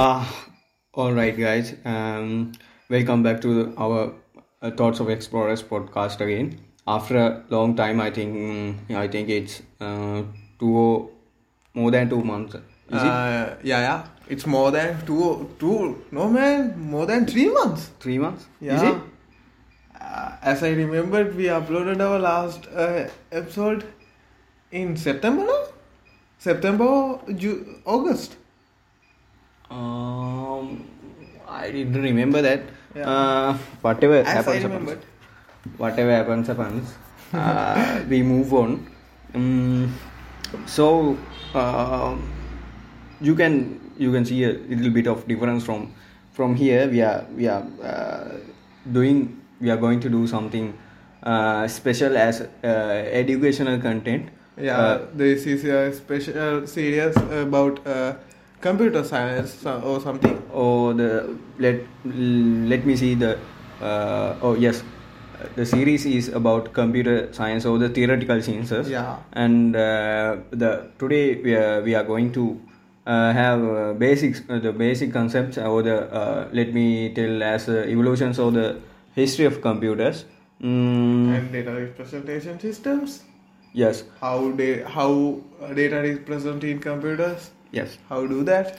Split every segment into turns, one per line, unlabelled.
Ah, all right, guys. Um, welcome back to our uh, Thoughts of Explorers podcast again. After a long time, I think mm, I think it's uh, two more than two months. Is it
Uh, yeah, yeah. It's more than two, two. No, man, more than three months.
three months?
Yeah.
Is it?
Uh, as I remembered, we uploaded our last uh, episode in September. No? September, Ju- August.
Um, I didn't remember that.
Yeah.
Uh, whatever
As I
happens,
remembered.
happens. Whatever happens, happens. uh, we move on. Um, so um you can you can see a little bit of difference from from here. We are we are uh, doing we are going to do something uh, special as uh, educational content.
Yeah,
Uh,
this is a special uh, series about uh, computer science so- or something.
or Oh, the let let me see the uh, oh yes the series is about computer science or the theoretical sciences
Yeah.
and uh, the today we are, we are going to uh, have uh, basics uh, the basic concepts or the uh, let me tell as uh, evolutions or the history of computers mm,
And data representation systems.
yes
How they how data is present in computers.
yes
How do that?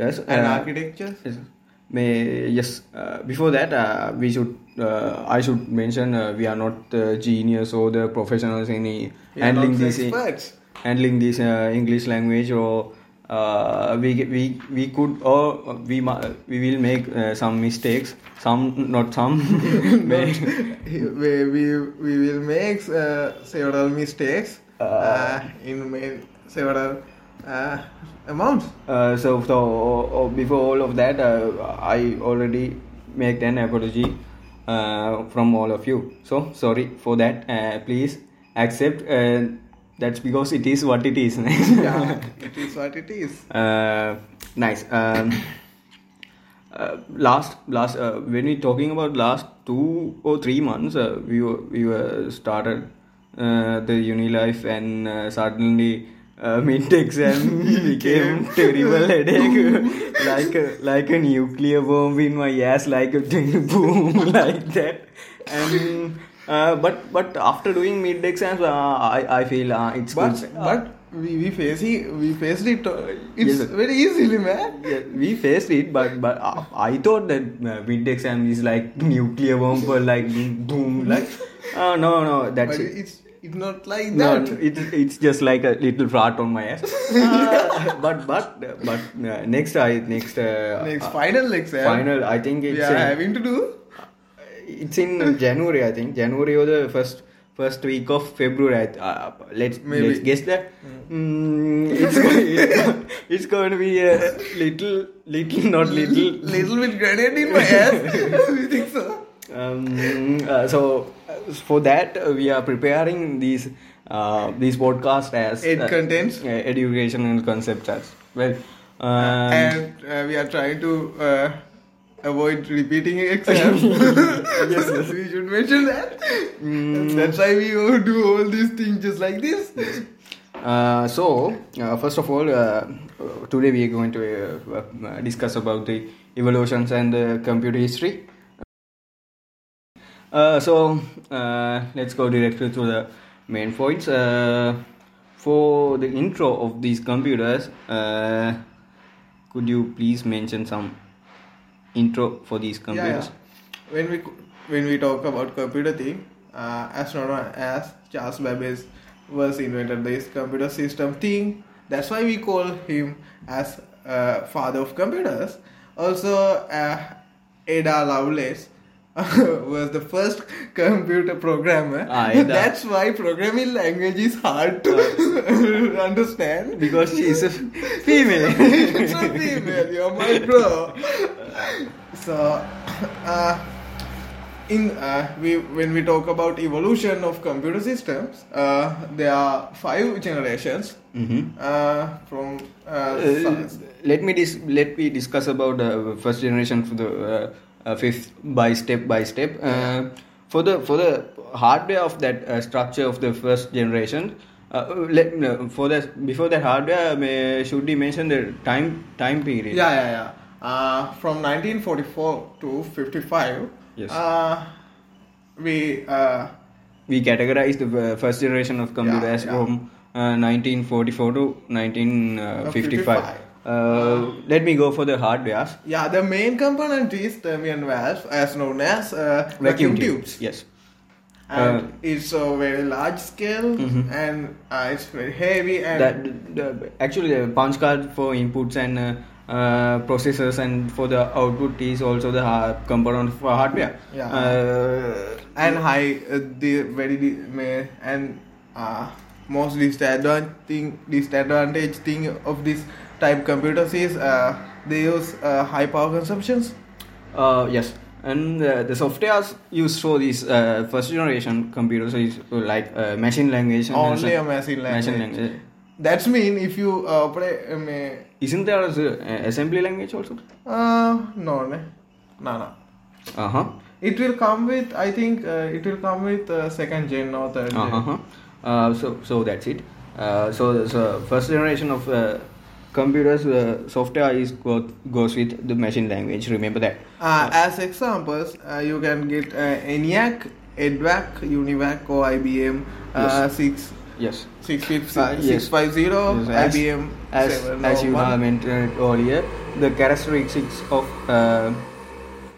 yes
And
uh,
architectures.
Yes. May yes. Uh, before that, uh, we should. Uh, I should mention uh, we are not uh, genius or the professionals in uh,
We are
handling
not the
this
experts.
handling this uh, English language or. Uh, we we we could or we ma- we will make uh, some mistakes some not some May-
we, we, we will make uh, several mistakes uh, in ma- several uh, amounts.
Uh, so so uh, before all of that, uh, I already make an apology uh, from all of you. So sorry for that. Uh, please accept. Uh, that's because it is what it is.
Yeah, it is what it is.
uh, nice. Um, uh, last last uh, when we talking about last two or three months, uh, we were, we were started uh, the uni life and uh, suddenly. Uh, mid exam became terrible headache like a, like a nuclear bomb in my ass like a boom like that and uh, but but after doing mid exams uh, I, I feel uh, it's
But
good.
but we, we face it. We faced it. uh, It's
Yes.
very easily, man.
Yeah, we faced it, but but uh, I thought that uh, mid exam is like nuclear bomb or like doom, like uh, no no that's
but
it.
it's it's not like
No,
that.
it, it's just like a little rat on my ass. Uh, but but but uh, next I next uh,
Next
uh,
final exam.
final I think
we
it's
are
in,
having to do.
it's in January I think January or the first first week of February. I- Uh, let's
Maybe.
let's guess that. Mm, it's, it's it's going to be a little little not little
Little bit grenade in my ass. you think so?
um, uh, so uh, for that uh, we are preparing these uh, these podcast as
It
uh,
contains-
uh, educational concepts as well um,
and uh, we are trying to uh, avoid repeating exams. we should mention that. That's why we all do all these things just like this.
Uh, so uh, first of all uh, today we are going to uh, uh, discuss about the evolutions and uh, computer history uh, so uh, let's go directly to the main points uh, for the intro of these computers uh, could you please mention some intro for these
Yeah, yeah.
computers
When we when we talk about computer thing, uh, as known as Charles Babbage was invented this computer system thing. That's why we call him as uh, father of computers. Also, uh, Ada Lovelace was the first computer programmer.
Ah, Ada.
That's why programming language is hard to understand.
because she is a female
it's a female, you're my bro. So, uh, in uh, we when we talk about evolution of computer systems, uh, there are five generations uh, from uh,
Uh,
science.
let me dis- let me discuss about uh, first generation for the uh, uh, fifth by step by step uh, for the for the hardware of that uh, structure of the first generation uh, let uh, no, for that before that hardware may, should we mention the time time period
Yeah, yeah, yeah. Uh, from 1944 to 55,
Yes.
uh, we uh,
we categorize the uh, first generation of computer
Yeah,
as
yeah.
from uh, 1944 to 1955.
55.
Uh, let me go for the hardware.
yeah the main component is Thermion valve, as known as uh, vacuum, tubes.
Yes.
and it's a very large scale and uh, it's very heavy and
Mm-hmm. That the, actually the punch card for inputs and uh, uh, processors and for the output is also the hard component for hardware.
Yeah.
Uh,
and high uh, the very di- ma- and uh, most disadvantage thing disadvantage thing of this type computers is uh, they use uh, high power consumptions
Uh, yes, and uh, the softwares used for these uh, first generation computers is uh, like uh, machine language. and
only a
also-
machine language.
Machine language.
That's mean if you uh, play um, uh,
Isn't there as a, uh, assembly language also?
uh, no no no no.
Uh huh.
It will come with I think uh, it will come with uh, second gen or third gen.
Uh huh. Uh, so so that's it. Uh, so so first generation of uh, computers uh, software is go- goes with the machine language. Remember that.
Uh, as examples, uh, you can get uh, ENIAC, EDVAC, UNIVAC, or IBM uh, six
Yes.
six fif-
Uh, yes.
six five zero
Yes, as-
IBM
as,
seven
as
oh
you have
one.
mentioned earlier, the characteristics of uh,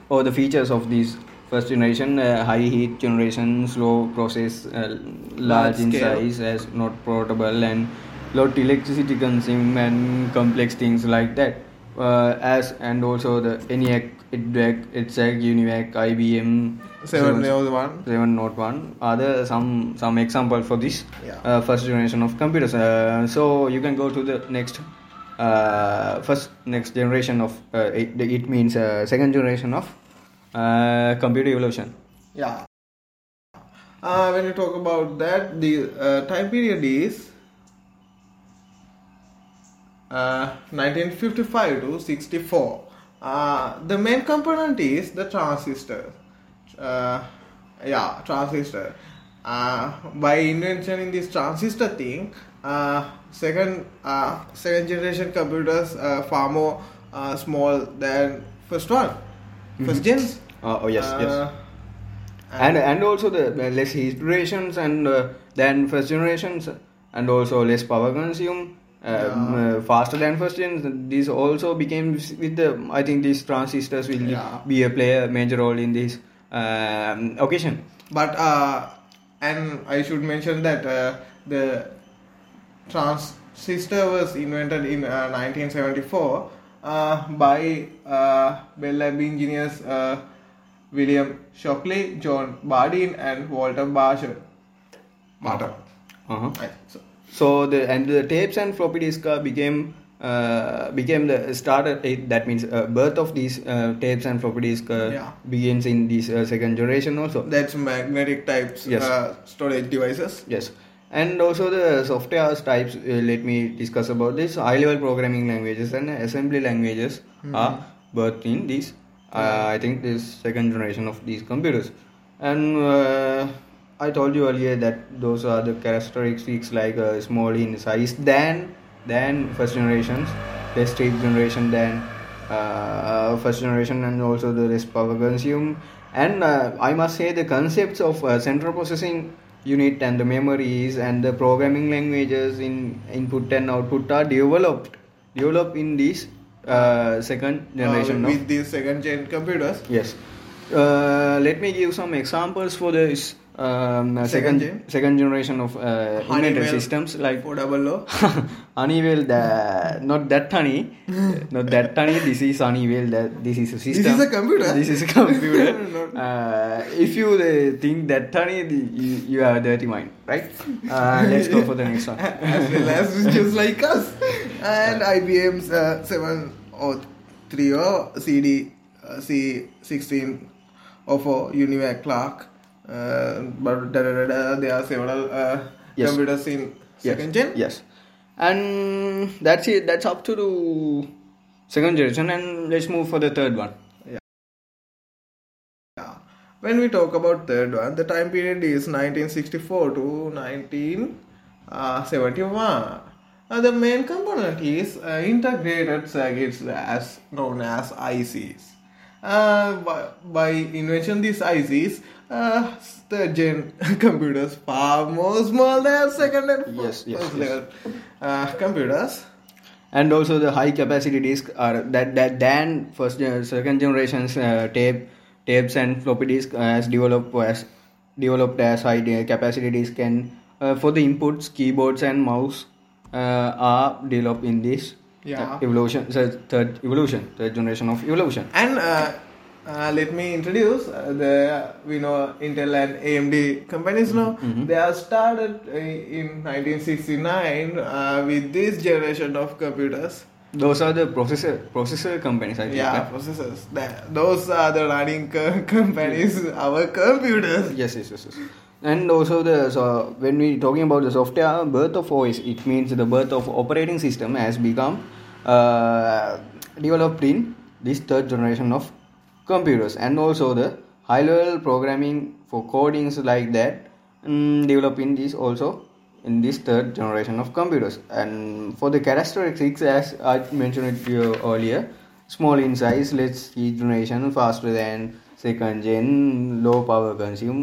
or the features of these first generation uh, high heat generation, slow process, uh, large,
Large
in
scale.
size, as not portable and lot electricity consume and complex things like that. Uh, as and also the ENIAC, EDVAC, EDSEC, UNIVAC, IBM,
seven oh one.
Raven Note 1 are there some some example for this
Yeah.
uh, first generation of computers uh, so you can go to the next uh, first next generation of uh, it, it means uh, second generation of uh, computer evolution
Yeah. Uh, when you talk about that, the uh, time period is uh, 1955 to 64. Uh, the main component is the transistor. Uh, yeah, transistor. Uh, by invention in this transistor thing, uh, second uh, second generation computers uh, far more uh, small than first one, first gens.
uh, oh yes yes
Uh,
and and also the the less heat durations and uh, than first generations and also less power consume uh, uh, faster than first gen this also became s- with the i think these transistors will
Yeah.
be a play a major role in this um, occasion
But uh, and I should mention that uh, the transistor was invented in uh, 1974 uh, by uh, Bell Lab engineers uh, William Shockley, John Bardeen, and Walter Barsher. Martin.
uh-huh.
I think so.
so the and the tapes and floppy disk uh, became uh, became the started it, that means uh, birth of these uh, tapes and floppy disk uh,
Yeah.
begins in this uh, second generation also
That's magnetic types
Yes.
uh, storage devices.
Yes, and also the software types. Uh, let me discuss about this. High-level programming languages and assembly languages are birthed in these. Uh, I think this second generation of these computers, and uh, I told you earlier that those are the characteristics like uh, small in size than than first generations, less strict generation than uh, first generation and also the less power consume and uh, i must say the concepts of uh, central processing unit and the memories and the programming languages in input and output are developed developed in this uh, second generation
uh,
of
with these second gen computers.
Yes. Uh, let me give some examples for this um, uh,
Second
second
gen?
second generation of uh, invented
Honeywell.
systems like
Four double oh. O.
Honeywell. The, not that honey, not that honey. This is Honeywell. That this is a system.
is a computer.
This is a computer.
Not-
uh, if you uh, think that honey, the- you, you have a dirty mind, right? Uh, let's go for the next one.
as well as just like us. And IBM's uh, 7030 CD oh, uh, C16 of UNIVAC Clark. Uh, but da, da, da, da, there are several uh,
Yes.
computers in
Yes,
second gen.
Yes. And that's it. That's up to the second generation. And let's move for the third one.
Yeah. When we talk about third one, the time period is 1964 to 1971. Uh, the main component is uh, integrated circuits as known as ICs. Uh, by, by invention these ICs, uh, the gen computers far more small than second and
Yes,
first,
yes,
first
yes.
level uh, computers.
and also the high capacity disc are that that than first gen- second generations uh, tape tapes and floppy disk as developed as developed as high de- capacity disk and uh, for the inputs keyboards and mouse uh, are developed in this
Yeah.
uh, evolution so third evolution third generation of evolution
And uh, uh, let me introduce uh, the we know Intel and AMD companies now. They are started uh, in 1969 uh, with this generation of computers.
those are the processor processor companies i think
Yeah,
right?
processors. That, those are the running co- companies. Our computers.
yes yes yes, yes. and also the so when we talking about the software birth of os it means the birth of operating system has become uh, developed in this third generation of computers and also the high level programming for codings like that mm, developed in this also in this third generation of computers and for the characteristics as i mentioned it to you earlier small in size less heat generation faster than second gen low power consume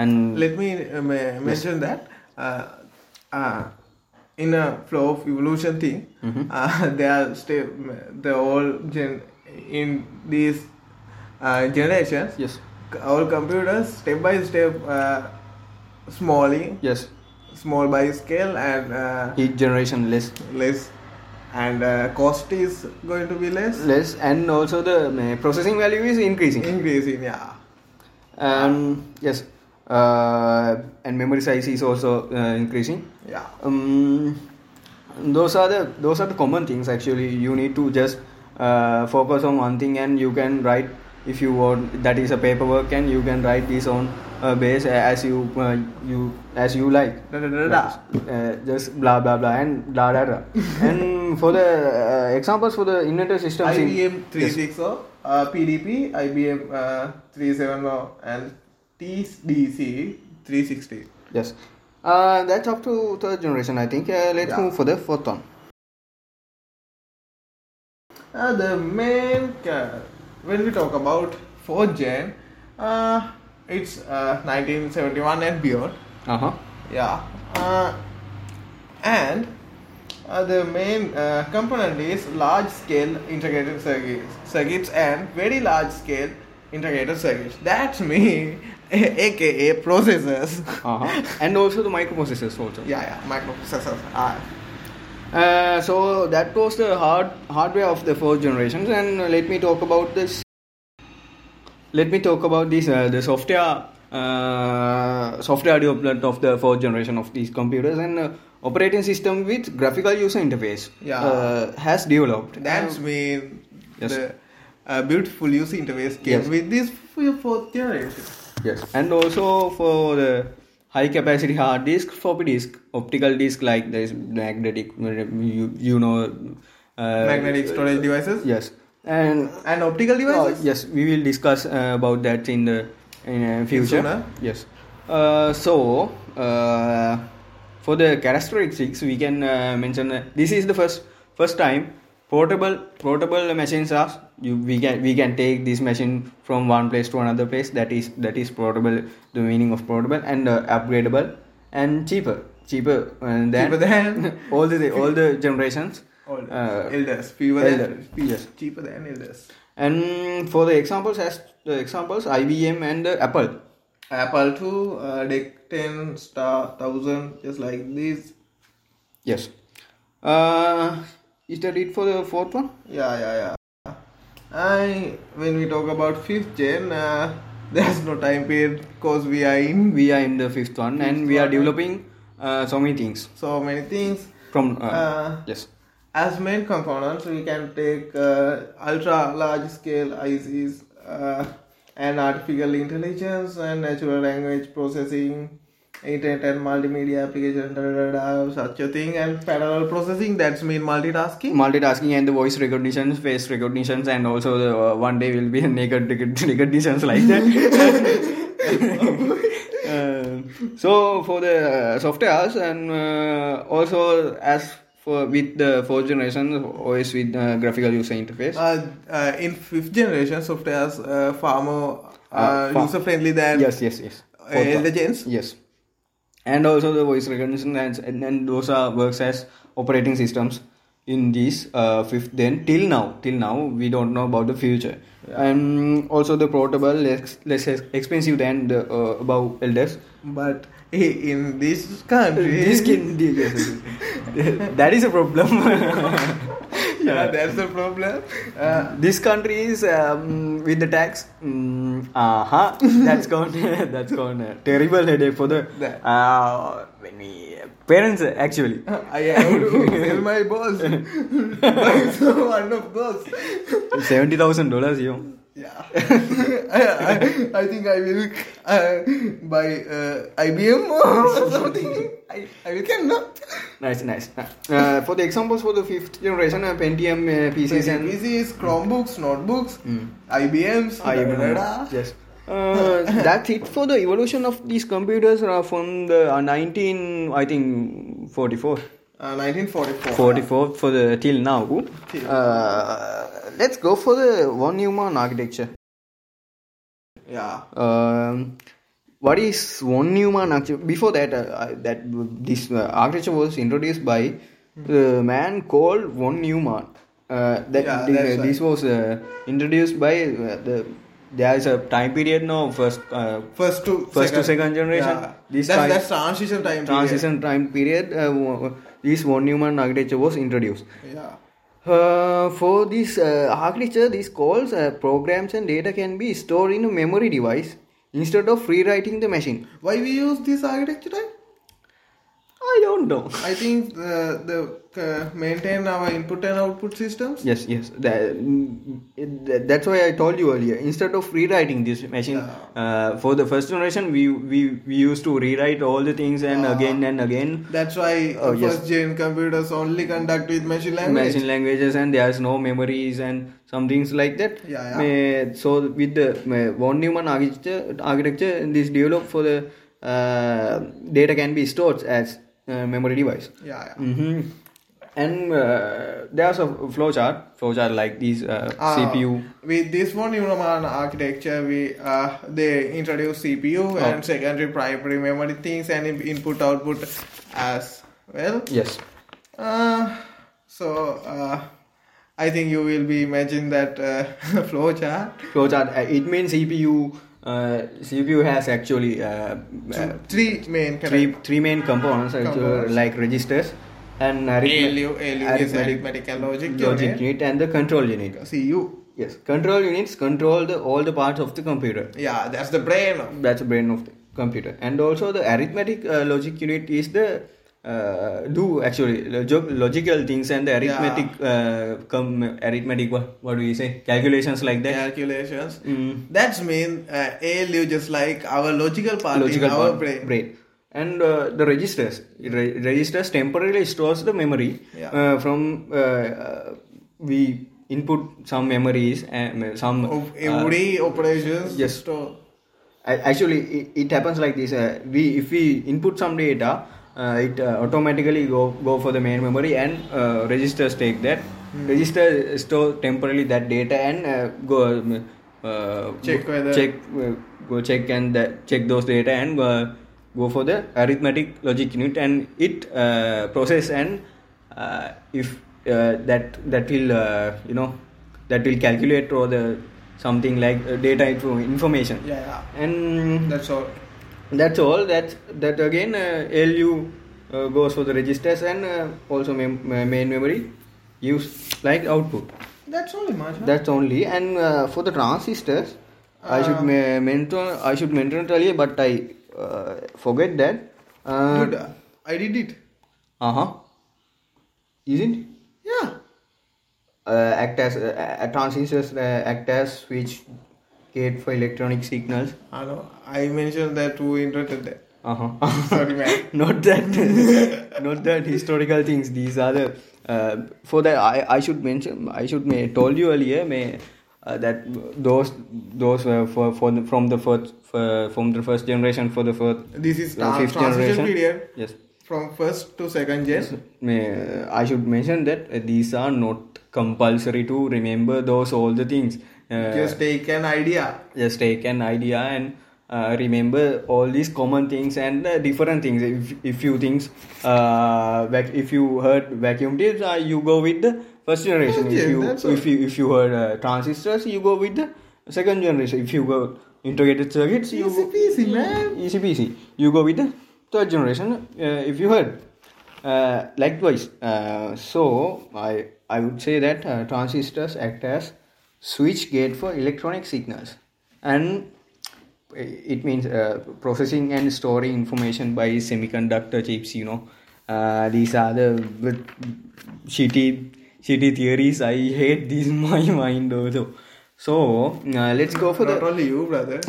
and
Let me uh, ma- mention that. Uh, uh, in a flow of evolution thing,
Mm-hmm.
uh, they are still the old gen in these uh, generations.
yes
Our computers step by step, uh, smally,
yes
small by scale, and uh,
heat generation less
less, and uh, cost is going to be less,
less and also the uh, processing value is increasing
increasing. Yeah.
um yes uh, and memory size is also uh, increasing
Yeah.
um, those are the those are the common things actually you need to just uh, focus on one thing and you can write if you want that is a paperwork and you can write this on a base as you uh, you as you like
Da, da, da, da.
uh, just blah blah blah and blah blah, blah. and for the uh, examples for the inventor systems in-
IBM 360, uh, PDP, IBM uh, 370, and TDC 360.
Yes. Uh, that's up to third generation, I think. Uh, let's
Yeah.
move for the fourth one.
Uh, the main ca- when we talk about 4th gen, uh, it's uh, 1971 and beyond.
Uh huh.
Yeah. Uh, and uh, the main uh, component is large scale integrated circuits, circuits and very large scale integrated circuits. That's me, aka processors.
Uh huh. and also the microprocessors also.
yeah, yeah, microprocessors. Ah.
Uh, so that was the hard hardware of the fourth generation, and let me talk about this. Let me talk about this uh, the software uh, software development of the fourth generation of these computers and uh, operating system with graphical user interface
Yeah.
uh, has developed.
That's me.
yes.
The uh, beautiful user interface came
Yes.
with this f- fourth generation.
Yes. And also for the high capacity hard disk, floppy disk, optical disk like there is magnetic, you, you know. Uh,
Magnetic storage devices
Yes. And
and optical
uh,
devices.
yes, we will discuss uh, about that in the in uh, future.
sooner.
Yes. Uh, so uh, for the characteristics, we can uh, mention uh, this is the first first time portable portable machines are you we can we can take this machine from one place to another place that is that is portable the meaning of portable and uh, upgradable and cheaper cheaper and then
Cheaper than-
all the all the generations
All
uh,
elders, fewer
elder,
than fe-
yes.
cheaper than elders.
and for the examples, as the examples, IBM and uh, Apple.
Apple 2, uh, Deck 10, Star 1000, just like this.
Yes. Uh, is that it for the fourth one?
Yeah, yeah, yeah. I when we talk about fifth gen, uh, there's no time period because we are in
We are in the fifth one, and we are developing uh, so many things
so many things.
from. Uh,
Uh,
yes.
as main components, we can take uh, ultra large scale ICs uh, and artificial intelligence and natural language processing, internet and multimedia application, da, da, da, da, such a thing, and parallel processing. That's mean multitasking.
Multitasking and the voice recognition, face recognitions, and also the, uh, one day will be a naked recognitions like that. Uh, so for the uh, softwares and uh, also as for with the fourth generation OS with uh, graphical user interface.
Uh, uh, in fifth generation, software is uh, far more uh,
Uh, far-
user friendly than
yes, yes, yes.
uh,
Fourth one.
elder gens.
Yes. And also the voice recognition and, and then those are works as operating systems in these uh, fifth then till now till now we don't know about the future and also the portable less less expensive than the uh, above elders
But i- in this country,
This can- yes, yes, yes. that is a problem
yeah, that's the problem. Uh,
this country is um, with the tax mm, uh-huh that's gone that's gone a terrible headache for the
That.
uh, when we- parents uh, actually
I, I would tell my boss, buy some one of those.
seventy thousand dollars you
Yeah, I, I, I think I will uh, buy uh, IBM or something. I, I will cannot.
nice nice uh, for the examples for the fifth generation uh, pentium uh, pcs and
PCs, Chromebooks, notebooks,
Hmm.
IBMs,
IBM.
da-da-da-da.
Yes. Uh, that's it for the evolution of these computers uh, from the uh, 19 I think 44
Uh, 1944.
44 for the till now. Good. Uh, let's go for the von Neumann architecture.
Yeah.
Um, what is von Neumann architecture? Before that, uh, I- that this uh, architecture was introduced by the man called von Neumann. Uh, that
Yeah,
this,
that's
uh, this was uh, introduced by uh, the there is a time period now first uh,
First to
First to second generation.
Yeah.
This
that's,
time-
that's transition time.
transition time period uh, wo- this von Neumann architecture was introduced.
Period. Yeah.
Uh, for this uh, architecture, these calls, uh, programs, and data can be stored in a memory device instead of rewriting the machine.
Why we use this architecture time?
I don't know.
I think uh, the uh, maintain our input and output systems.
Yes, yes. That, mm, it- that's why I told you earlier. Instead of rewriting this machine, uh, for the first generation, we, we we used to rewrite all the things and again and again.
That's why
Oh,
uh,
yes.
first gen computers only conduct with machine language.
Machine languages and there's no memories and some things like that.
Yeah,
Uh, so with the uh, von Neumann architecture, architecture, this developed for the uh, data can be stored as uh, memory device.
Yeah. yeah.
Mm-hmm. And uh, there's a flowchart, flowchart like these uh,
Uh,
CPU.
With this one Neumann architecture, we uh, they introduce CPU and
Oh.
secondary primary memory things and in- input output as well.
Yes.
Uh, so uh, I think you will be imagine that uh, flowchart.
Flowchart. Uh, it means CPU. Uh, CPU has actually uh, uh,
Three main
three
correct.
three main components, actually,
Components.
like registers and arithmetic.
ALU, ALU is arithmetical logic
logic
unit.
unit and the control unit.
CU.
Yes, control units control the all the parts of the computer.
Yeah, that's the brain. of-
That's the brain of the computer. And also the arithmetic uh, logic unit is the uh, do actually log- logical things and the arithmetic uh, com- arithmetic what, what do you say calculations like that. Mm.
Calculations. That's mean uh, ALU just like our logical part
logical
in our
part,
brain.
And uh, the registers, Re- registers temporarily stores the memory
Yeah.
uh, from uh, uh, we input some memories and some
Of every operations.
Uh, yes.
store.
A- actually it, it happens like this uh, we if we input some data uh, it uh, automatically go go for the main memory and uh, registers take that
Hmm.
register store temporarily that data and uh, go um, uh,
Check
go,
whether-
check uh, go check and that, check those data and uh, go for the arithmetic logic unit and it uh, process and uh, if uh, that that will uh, you know that will calculate or the something like uh, data info- information
Yeah, yeah.
and
That's all.
that's all that that again uh, lu uh, goes for the registers and uh, also mem- uh, main memory use like output
That's all, Imagine.
that's only and uh, for the transistors i should ma- mention i should mention it earlier but i uh, forget that uh,
Dude, I did it.
uh-huh isn't
Yeah.
uh, act as uh, uh, transistors uh, act as switch gate for electronic signals
I know. I mentioned that who invented that.
uh-huh
Sorry, man.
not that not that historical things these are the uh, for that I, I should mention i should may told you earlier may uh, that those those were for, for the, from the first for, from the first generation for the first
This is
uh,
tra- transition period.
yes
from first to second gen.
May, I should mention that uh, these are not compulsory to remember those all the things. Uh,
Just take an idea.
just take an idea and uh, remember all these common things and uh, different things if, if you things uh, vac- if you heard vacuum tubes uh, you go with the first generation
Yeah,
if you
that's all.
if you if you heard uh, transistors you go with the second generation if you go integrated circuits you
Easy
go-
peasy, man.
easy peasy you go with the third generation uh, if you heard uh, likewise uh, so i i would say that uh, transistors act as switch gate for electronic signals and it means uh, processing and storing information by semiconductor chips you know uh, these are the with shitty shitty theories i hate these in my mind also so uh, let's go for the
Not only you, brother.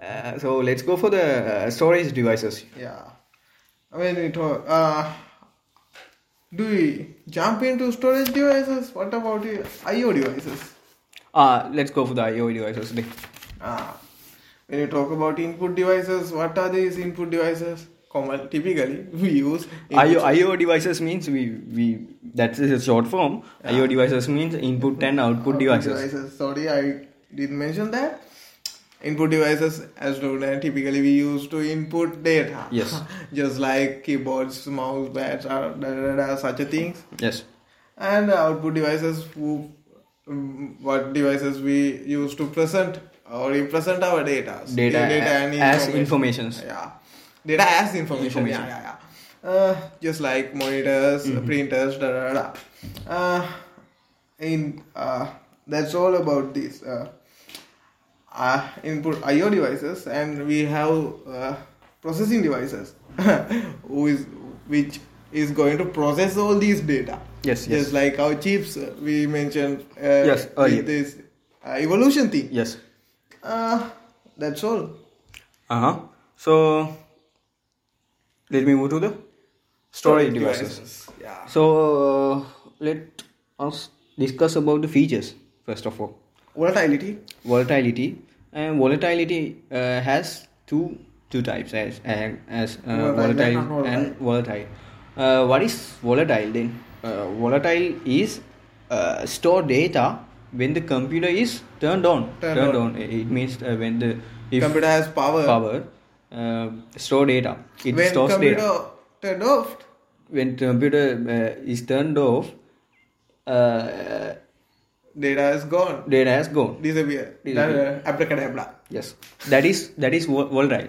uh, so let's go for the uh, storage devices.
yeah. When we talk, uh, do we jump into storage devices? What about the I/O devices?
Uh, let's go for the IO devices. then.
Ah, when you talk about input devices, what are these input devices? Common, typically we use
IO, IO devices means we, we that's a short form. IO devices means input and output devices.
Sorry, I didn't mention that. Input devices, as known as typically we use to input data.
Yes.
Just like keyboards, mouse pads, or da, da, da, da, such a things.
Yes.
And output devices, who, mm, what devices we use to present or represent our data.
Data a- as informations.
Yeah. Data as information.
Information. Mm-hmm.
Yeah, yeah, yeah. Uh, just like monitors, printers, da da da. da. Uh, in uh, that's all about this. Uh, uh, input I/O devices, and we have uh, processing devices, who is which is going to process all these data.
Yes, yes.
Just like our chips uh, we mentioned. Uh,
Yes, earlier.
with This uh, evolution thing.
Yes.
Uh, that's all.
Uh huh. So let me move to the storage devices.
Yeah.
So uh, let us discuss about the features first of all.
Volatility.
volatility and volatility uh, has two two types as as, as uh,
Volatile and
volatile,
non-volatile.
and volatile uh, what is volatile then uh, volatile is uh, store data when the computer is turned on
Turned
on. it means uh, when the if
computer has power.
power uh, store data it
when
stores
computer
data
turned off,
when computer uh, is turned off uh,
data is gone.
data has gone
Disappear.
Disappear.
Da- da- Abracadabra.
Yes, that is that is wo- volatile.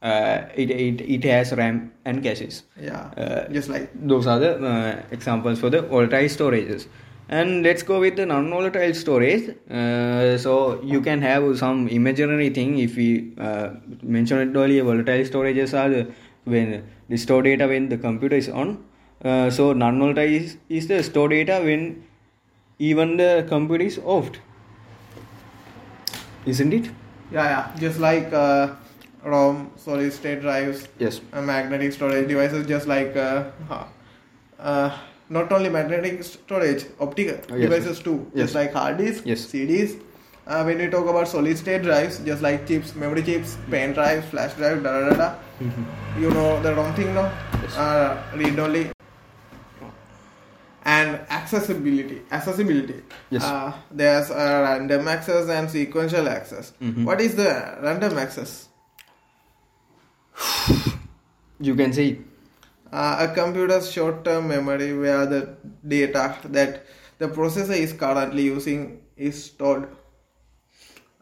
Uh, it, it it has RAM and caches.
Yeah.
Uh,
Just like
Those are the uh, examples for the volatile storages. And let's go with the non-volatile storage. Uh, so you can have some imaginary thing. If we uh, mentioned it earlier, volatile storages are the, when the store data when the computer is on. Uh, so non-volatile is, is the store data when even the computer is off. Isn't it?
yeah, yeah. Just like uh, ROM, solid state drives,
Yes.
uh, magnetic storage devices. Just like uh, huh, uh, not only magnetic storage, optical
Oh, yes,
devices too.
Yes.
Just like hard disks,
Yes.
CDs. Uh, when we talk about solid state drives, just like chips, memory chips, pen drives, flash drive, da da da da.
Mm-hmm.
You know the wrong thing now. Uh, read only and accessibility accessibility
Yes.
uh, there's a random access and sequential access What is the random access
You can say
uh, a computer's short-term memory where the data that the processor is currently using is stored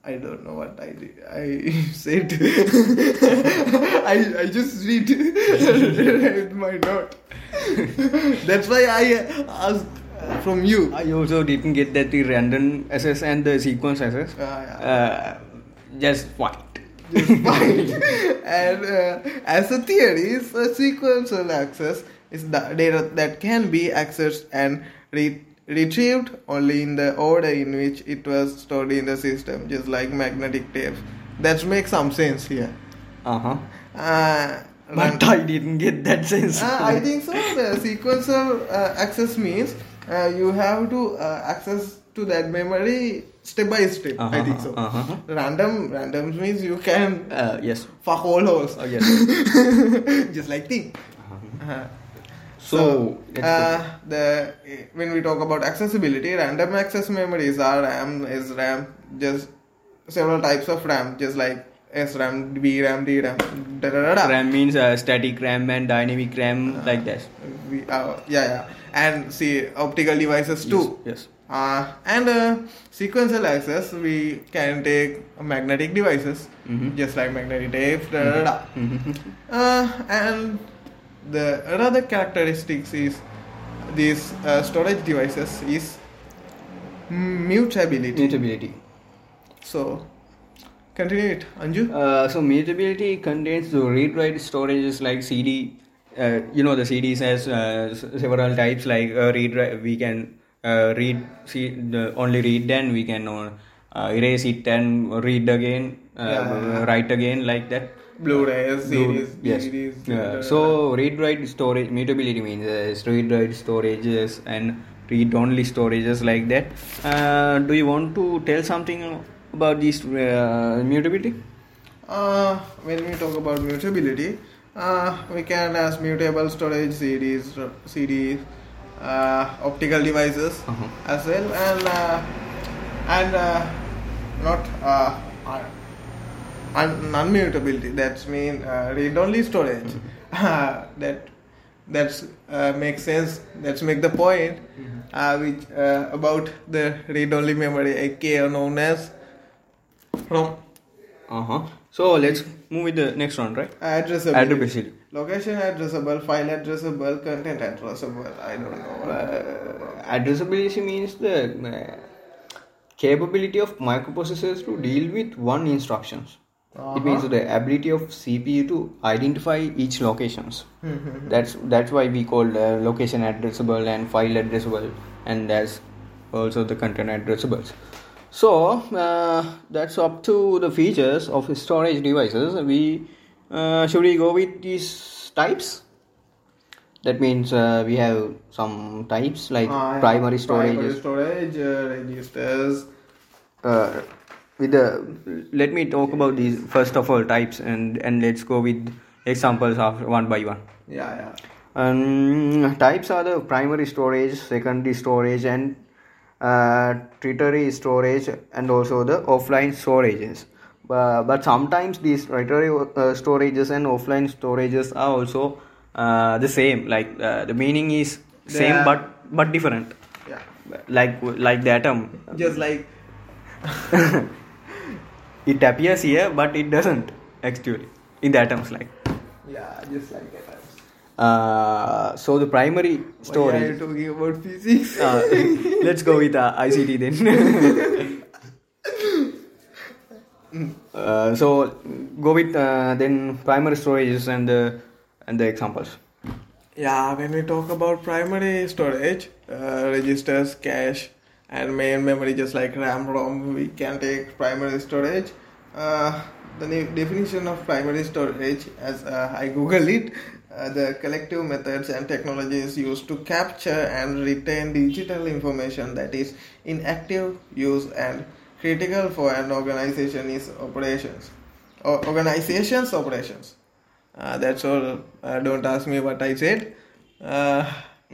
I don't know what I did. I said. I, I just read with my note. That's why I asked from you. Uh,
I also didn't get that the random access and the sequence access.
Yeah, yeah.
Uh, just what?
Fine. and uh, as a theory, is a sequential access is the data that can be accessed and re- retrieved only in the order in which it was stored in the system, just like magnetic tapes. That makes some sense here.
Uh huh.
Uh,
But I didn't get that sense.
uh, I think so. The sequential uh, access means uh, you have to uh, access to to that memory step by step. I think so.
Uh-huh, uh-huh.
Random randoms means you can
Uh, yes.
for whole holes.
Oh, yes.
just like thing. Uh-huh.
So, let's go.
uh, the when we talk about accessibility, random access memories are RAM, SRAM, just several types of RAM, just like SRAM, VRAM, DRAM, da da da da.
RAM means uh, static RAM and dynamic RAM, like that.
We, uh, yeah, yeah, and see optical devices too.
Yes.
Uh, and uh, sequential access, we can take magnetic devices,
Mm-hmm.
just like magnetic tapes, da da da. Uh, and the another characteristics is these uh, storage devices is mutability.
Mutability.
So continue it, Anju.
Uh, so mutability contains the read-write storages like CD. Uh, you know the CDs has uh, s- several types like uh, read. write- We can uh, read see, the, only read then we can uh, uh, erase it and read again, uh, write again like that.
Blu-rays,
Blue-
series,
yes.
DVDs.
Yeah. so read write storage mutability means uh, read write storages and read only storages like that. Uh, do you want to tell something about this uh, mutability?
Uh, when we talk about mutability, uh, we can as mutable storage CDs, r- CDs, uh, optical devices as well, and uh, and uh, not uh, un- un- unmutability. That's mean uh, read-only storage. Uh, that that's uh, makes sense. That's make the point. Uh, which uh, about the read-only memory, aka known as ROM.
Uh huh. So let's move with the next one, right?
Addressable.
Addressable.
Location addressable, file addressable, content addressable. I don't know.
Uh, addressability means the uh, capability of microprocessors to deal with one instructions. It means the ability of CPU to identify each locations. that's that's why we call uh, location addressable and file addressable, and there's also the content addressables. So uh, that's up to the features of storage devices. We uh, should we go with these types? That means uh, we have some types like
Ah, yeah.
primary storage.
Primary storage, uh, registers.
Uh, with the let me talk about these first of all types and and let's go with examples of one by one.
Yeah, yeah.
Um, types are the primary storage, secondary storage, and uh, tertiary storage, and also the offline storages. But, but sometimes these tertiary uh, storages and offline storages are also uh, the same. Like uh, the meaning is
They
same
are-
but but different.
Yeah.
Like like the atom,
Just like
it appears here but it doesn't actually in the atoms like.
yeah, just like that.
Uh, so the primary
Why
storage.
are you talking about physics?
Uh, let's go with uh, ICT then. uh, so go with uh, then primary storages and the and the examples.
Yeah, when we talk about primary storage, uh, registers, cache, and main memory, just like RAM, ROM, we can take primary storage. Uh, the ne- definition of primary storage, as uh, I googled it, uh, the collective methods and technologies used to capture and retain digital information that is in active use and critical for an organization is operations or organizations operations. Uh, that's all. Uh, don't ask me what I said. Uh,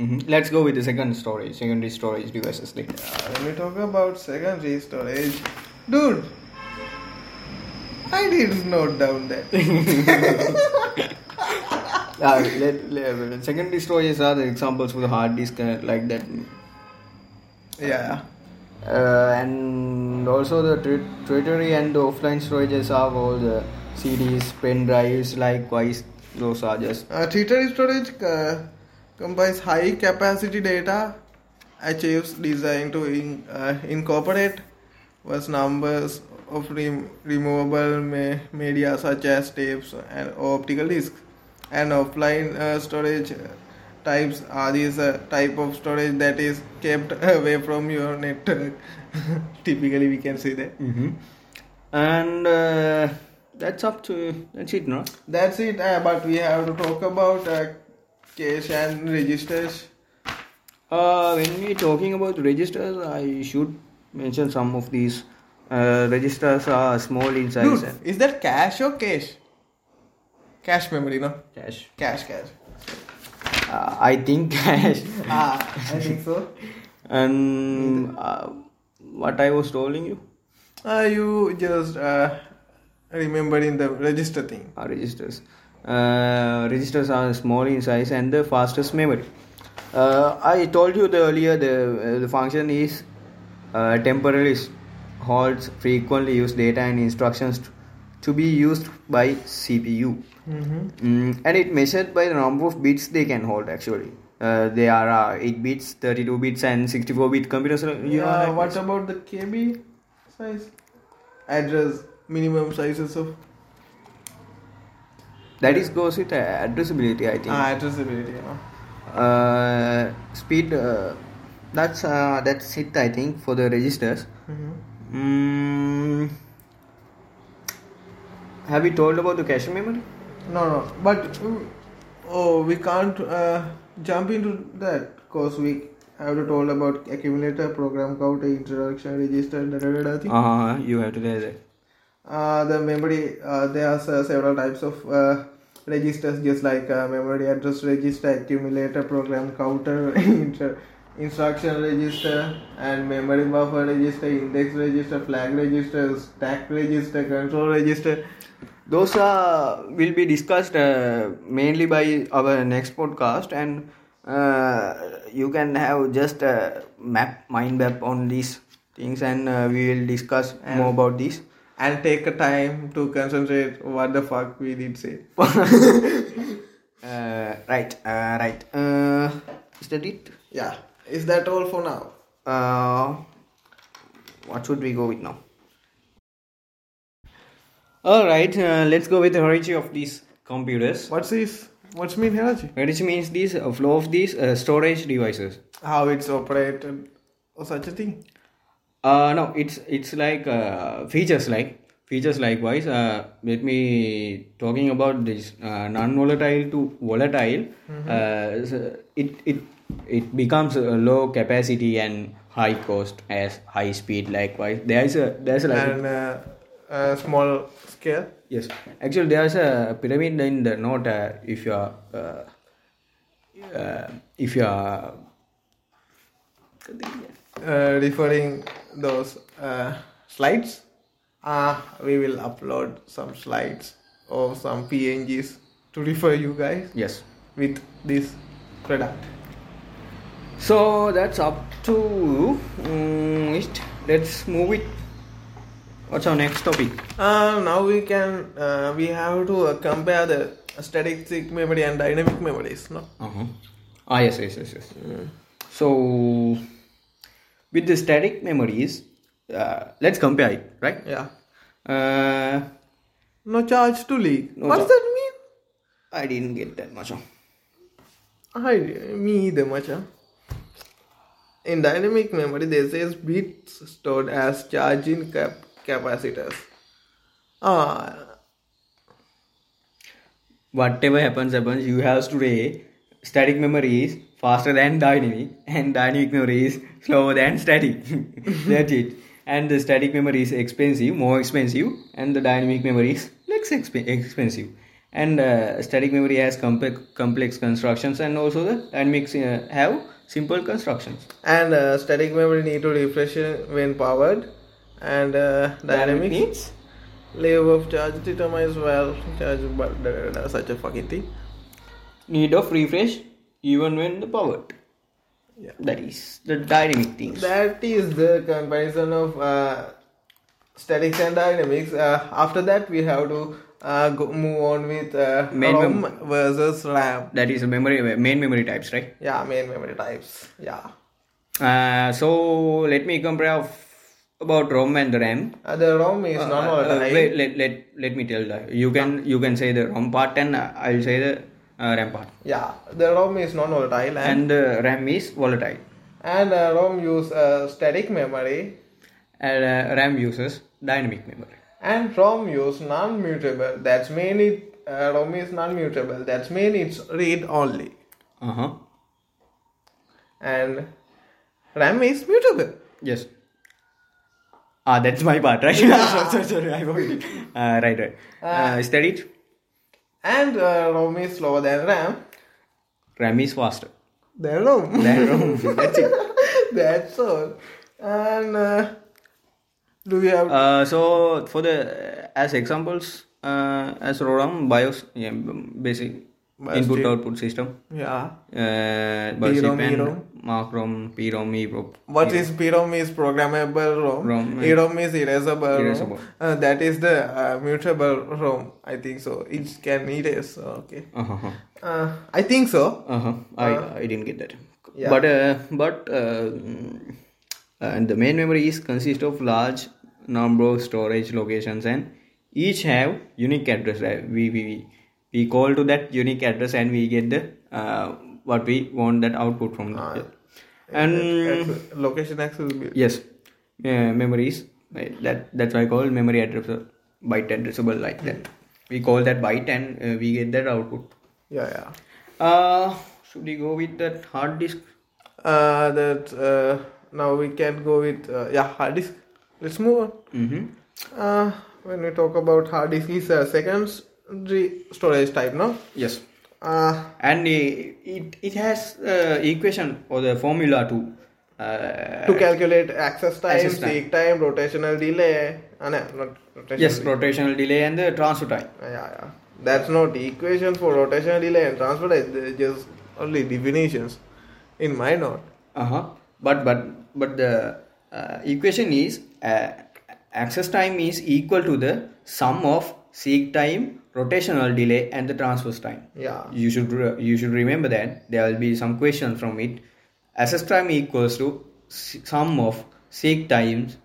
Mhm. Let's go with the second storage, secondary storage devices. Then.
when we talk about secondary storage, dude, I did note down that.
Uh, let, let- secondary storages are the examples for the hard disk uh, like that,
yeah,
uh, and also the tre- treasury and the offline storages are all the CDs, pen drives. Likewise, those are just
uh, tertiary storage uh, combines high capacity data, achieves designed to in, uh, incorporate vast numbers of rem- removable me- media such as tapes and optical discs. and offline uh, storage types are these uh, type of storage that is kept away from your network typically we can say that
Mm-hmm. And uh, that's up to that's it, no?
that's it uh, but we have to talk about uh, cache and registers
Uh, when we talking about registers, I should mention some of these uh, registers are small in size
Dude,
and
is that cash or cache? Cache memory, no?
cache.
Cache, cache.
Uh, I think cache.
Ah, I think so.
and uh, what I was telling you,
Uh, you just uh, remembering the register thing.
are registers. Uh, registers are small in size and the fastest memory. Uh, I told you the earlier the, uh, the function is uh, temporarily holds frequently used data and instructions t- to be used by CPU. Mm, and it measured by the number of bits they can hold actually. Uh, there are uh, 8 bits, 32 bits, and 64 bit computers. uh, You know,
Uh,
like
what
this.
about the KB size? Address, minimum sizes of
that is goes with uh, addressability, I think.
ah, addressability. You know.
uh, speed uh, that's uh, that's it i think for the registers mm. have you told about the cache memory
No, no. But mm, oh, we can't uh, jump into that because we have to talk about accumulator, program counter, introduction, register, da da da da. Thing.
uh you have to tell that
Uh, the memory uh, there are se- several types of uh, registers just like uh, memory address register accumulator program counter inter- instruction register and memory buffer register index register flag register stack register control register
those uh, will be discussed uh, mainly by our next podcast and uh, you can have just uh, map mind map on these things and uh, we will discuss more about these
and take a time to concentrate what the fuck we did say
uh, right uh, right uh, is that it
yeah is that all for now
Uh, what should we go with now? All right, uh, let's go with the hierarchy of these computers.
what's this what's mean hierarchy
Hierarchy means these uh, flow of these uh, storage devices.
how it's operated or Oh, such a thing
Uh, no, it's it's like uh, features like features likewise. Uh, let me talking about this uh, non-volatile to volatile. Uh, so it it it becomes a low capacity and high cost as high speed. Likewise, there is a there's a like,
and uh, uh, small scale
Yes, actually, there's a pyramid in the note. Uh, if you are, uh, uh, if you are,
uh, referring those uh, slides uh, we will upload some slides or some pngs to refer you guys
yes.
with this product
So that's up to um, it. Let's move it. What's our next topic?
uh, now we can uh, we have to uh, compare the static memory and dynamic memories no
Uh-huh. Ah, yes, yes, yes, yes. So, with the static memories, uh, let's compare it, right?
yeah
Uh,
no charge to leak
No
what does
charge.
that mean
I didn't get that much.
I me either, macha. In dynamic memory, there says bits stored as charge in cap- capacitors. Ah,
whatever happens happens you have today static memory is faster than dynamic and dynamic memory is slower than static that's it and the static memory is expensive more expensive and the dynamic memory is less exp- expensive and uh, static memory has complex complex constructions and also the dynamics uh, have simple constructions
and uh, static memory need to refresh it when powered, and uh, dynamic
needs
level of charge determines well charge, but da, da, da, da, such a fucking thing.
need of refresh even when the powered
Yeah.
that is the dynamic things
That is the comparison of uh, statics and dynamics. Uh, after that, we have to uh, go, move on with uh,
Main
ROM versus RAM.
that is the memory main memory types right
Yeah, main memory types. Yeah.
Uh, so let me compare f- about ROM and the RAM.
Uh, the ROM is non
Uh,
volatile.
wait, let, let let me tell that you can you can say the ROM part and uh, I'll say the uh, RAM part.
yeah, the ROM is non volatile and,
And the RAM is volatile.
and uh, ROM use uh, static memory
And uh, RAM uses dynamic memory.
and ROM use non mutable. That's mean it uh, ROM is non mutable. That's mean it's read only.
Uh huh.
And RAM is mutable.
Yes. Ah, that's my part, right? sorry, sorry, sorry, I forgot. Uh, right, right. Uh, is that it?
And uh, ROM is slower than RAM.
RAM is faster.
Then ROM.
Than ROM. That's it.
That's all. And uh, do we have
Uh, so for the as examples, uh, as ROM BIOS, yeah, um, basic
BIOS
input
chip.
output system.
yeah?
Uh, BIOS chip
DROM,
and
EROM.
MacROM, E PROM, EPROM.
What is PROM is programmable ROM.
ROM, yeah.
EROM is erasable,
Erasable.
ROM. Uh, that is the uh, mutable ROM. I think so. It can erase. Okay.
Uh-huh.
Uh, I think so.
Uh-huh. I, I didn't get that.
Yeah.
But uh, but uh, mm, and the main memory is consist of large number of storage locations and each have unique address. Right? We, we we call to that unique address and we get the uh, what we want that output from. that. and
Access- location accessibility.
yes, yeah, memories. Right? That that's why I call memory address uh, byte addressable like that. We call that byte and uh, we get that output.
Yeah, yeah.
Uh, should we go with that hard disk?
Uh, that uh, now we can go with uh, yeah hard disk. Let's move on.
Mm-hmm.
Uh, when we talk about hard disk, is a secondary storage type, no?
Yes.
Uh,
And uh, it it has uh, equation or the formula to uh,
to calculate access time,
Access time.
seek time, rotational delay. Uh, no, not rotational.
yes rotational delay and the transfer time.
Uh, yeah, yeah. That's not the equation for rotational delay and transfer time. They're just only definitions in my note.
Uh huh. But but but the uh, equation is uh, access time is equal to the sum of seek time, rotational delay, and the transverse time.
Yeah.
you should re- you should remember that there will be some question from it access time equals to s- sum of seek times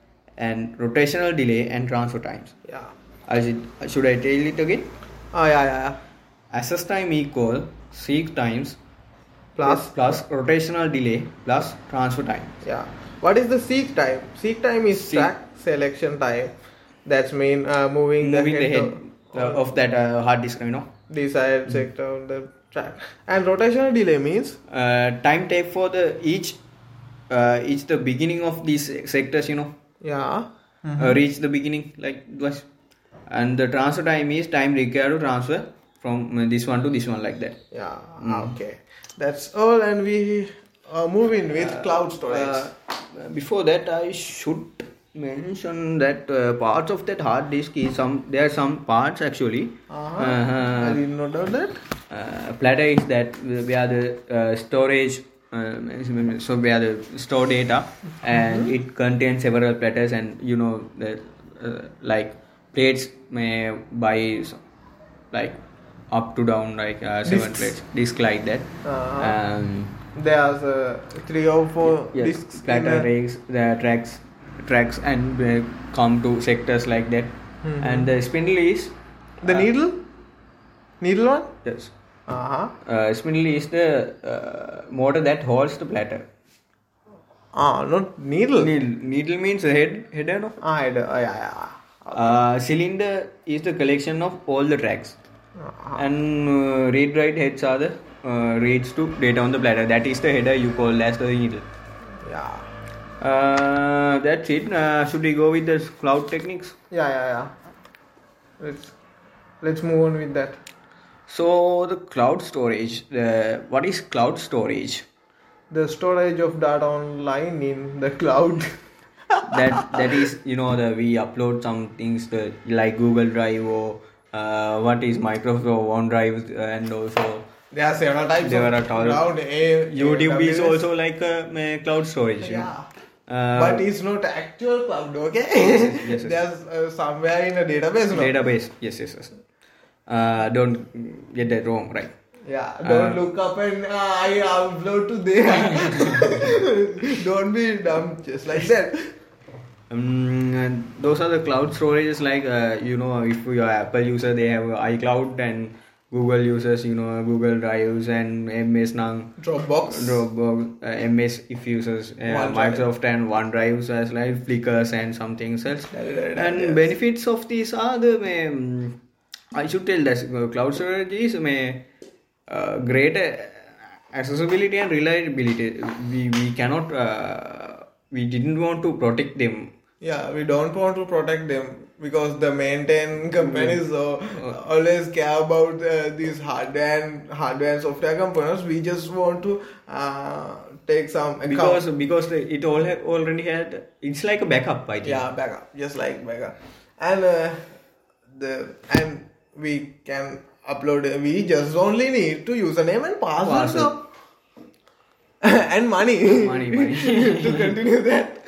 and rotational delay and transfer times
Yeah.
I should, should i tell it again
Oh, yeah, yeah, yeah.
access time equal seek times
Plus.
plus rotational delay plus transfer time
Yeah. What is the seek time? Seek time is
Seek.
track selection time. That's mean uh, moving,
moving the head
to-
uh, of that uh, hard disk you know
desired
Mm.
sector of the track. And rotational delay means
uh, time tape for the each uh, each the beginning of these sectors you know
yeah.
uh, reach the beginning like was and the transfer time is time required to transfer from uh, this one to this one like that
Yeah.
Mm.
Okay. That's all, and we uh, move in with cloud storage.
uh, before that i should mention that uh, parts of that hard disk is some there are some parts actually
Uh-huh.
Uh-huh.
I did not know that.
uh, platter is that where the uh, storage uh, so where the store data and
Mm-hmm.
it contains several platters and you know the, uh, like plates may by s- like up to down like uh, seven
Discs.
plates disk like that
Uh-huh.
um,
There's uh, three or four
yes,
discs. in
platter
a-
rigs, the tracks tracks and uh, come to sectors like that
Mm-hmm.
and the spindle is Uh.
the needle. Needle one.
yes
Uh huh.
uh, spindle is the uh, motor that holds the platter
Ah, not needle.
Needle, needle means a head, header no?
Ah, I do- ah, yeah, yeah.
Uh, cylinder is the collection of all the tracks. And uh, read write heads are the uh, reads to data on the platter. That is the header you call as the needle.
Yeah.
Uh, that's it. Uh, should we go with the cloud techniques?
Yeah, yeah, yeah. Let's let's move on with that.
So, the cloud storage. Uh, what is cloud storage?
The storage of data online in the cloud.
that that is you know the we upload some things the, like Google Drive or uh, what is Microsoft OneDrive and also
there are several types
There
of
are tol-
cloud. A,
YouTube is
AWS.
also like a, uh, cloud storage. you know.
Yeah.
Uh,
but it's not actual cloud, okay?
yes, yes.
There's uh, somewhere in a database. No?
database. Yes, yes, yes. Uh, don't get that wrong, right?
Yeah, don't look up and uh, I upload to there. don't be dumb, just like that.
Um, and those are the cloud storages like uh, you know if you are Apple user they have iCloud and Google users you know Google Drives and MS Nang
Dropbox.
Dropbox uh, MS if users uh,
OneDrive.
Microsoft and OneDrive as like Flickrs and something else
Da, da, da, da,
and
yes.
benefits of these are the um, I should tell that uh, cloud storage is um, uh, great uh, accessibility and reliability we we cannot uh, we didn't want to protect them
Yeah, we don't want to protect them because the maintain companies
Mm.
uh, always care about uh, these hardware and hardware and software components. We just want to uh, take some account.
because because the, it all ha- already had it's like a backup I think.
yeah, backup, just like backup, and uh, the and we can upload. We just only need to username and password,
Password.
and money,
Money, money.
to continue that.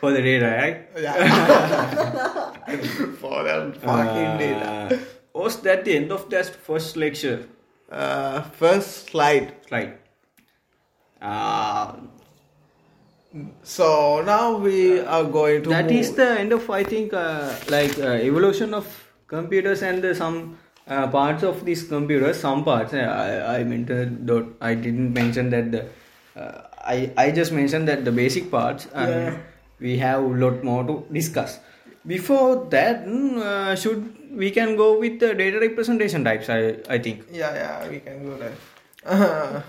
for the data right
Yeah, for that fucking data.
Uh, was that the end of that first lecture
Uh, first slide.
slide uh,
So now we are going to.
Uh, That
move-
is the end of i think uh, like uh, evolution of computers and the, some uh, parts of these computers some parts uh, i i meant uh, don't, i didn't mention that the uh, i i just mentioned that the basic parts and
Yeah.
we have a lot more to discuss before that mm, uh, should we can go with the data representation types i i think
Yeah, yeah, we can go there. Uh,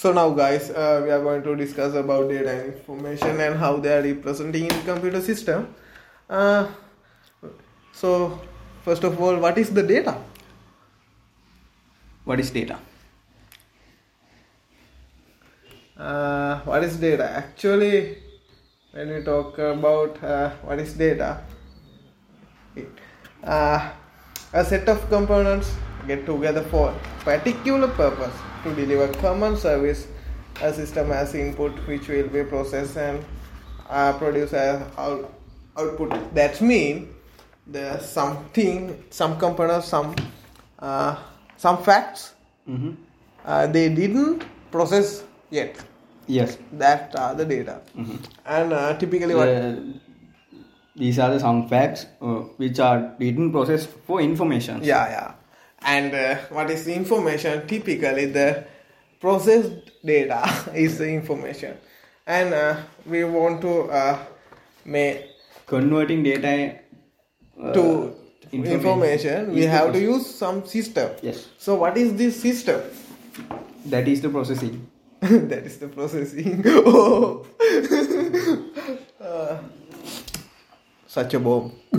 so now, guys, uh, we are going to discuss about data and information and how they are representing in computer system. Uh, so, first of all, what is the data?
what is data
Uh, what is data? Actually, when we talk about uh, what is data, it, uh, a set of components get together for particular purpose to deliver common service. A system has input which will be processed and uh, produce as out- output. That means there's something, some components, some uh, some facts
mm-hmm.
uh, they didn't process yet
yes
that are the data and uh, typically what
The- these are the some facts uh, which are didn't process for information.
yeah yeah and uh, what is the information typically the processed data is the information and uh, we want to uh, make
Converting data uh,
to
informa-
information we
is the
have to
process.
use some system
Yes,
so what is this system
that is the processing.
that is the processing oh. Uh, such a bomb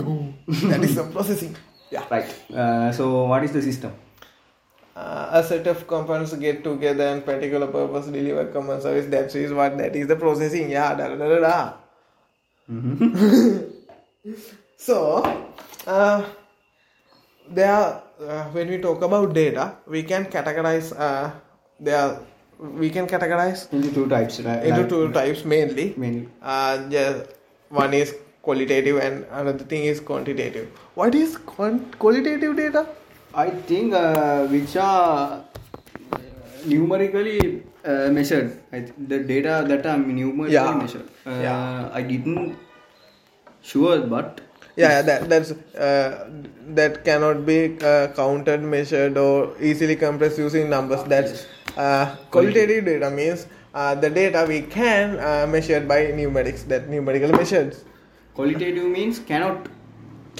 that is the processing yeah
Right. Uh, so what is the system?
uh, a set of components get together and particular purpose deliver common service that is what that is the processing yeah da da da da, da.
Mm-hmm.
so uh, there are uh, when we talk about data we can categorize uh, there are, we can categorize
Into two types. Right?
into
like,
two types mainly
Mainly.
uh, yeah, one is qualitative and another thing is quantitative what is quant- qualitative data
I think uh, which are numerically uh, measured. I th- the data that are numerically
Yeah.
measured. Uh,
Yeah.
I didn't sure, but
yeah that that's uh, that cannot be uh, counted measured or easily compressed using numbers that's uh, qualitative data means uh, the data we can uh, measure by numerics that numerical measures
qualitative means cannot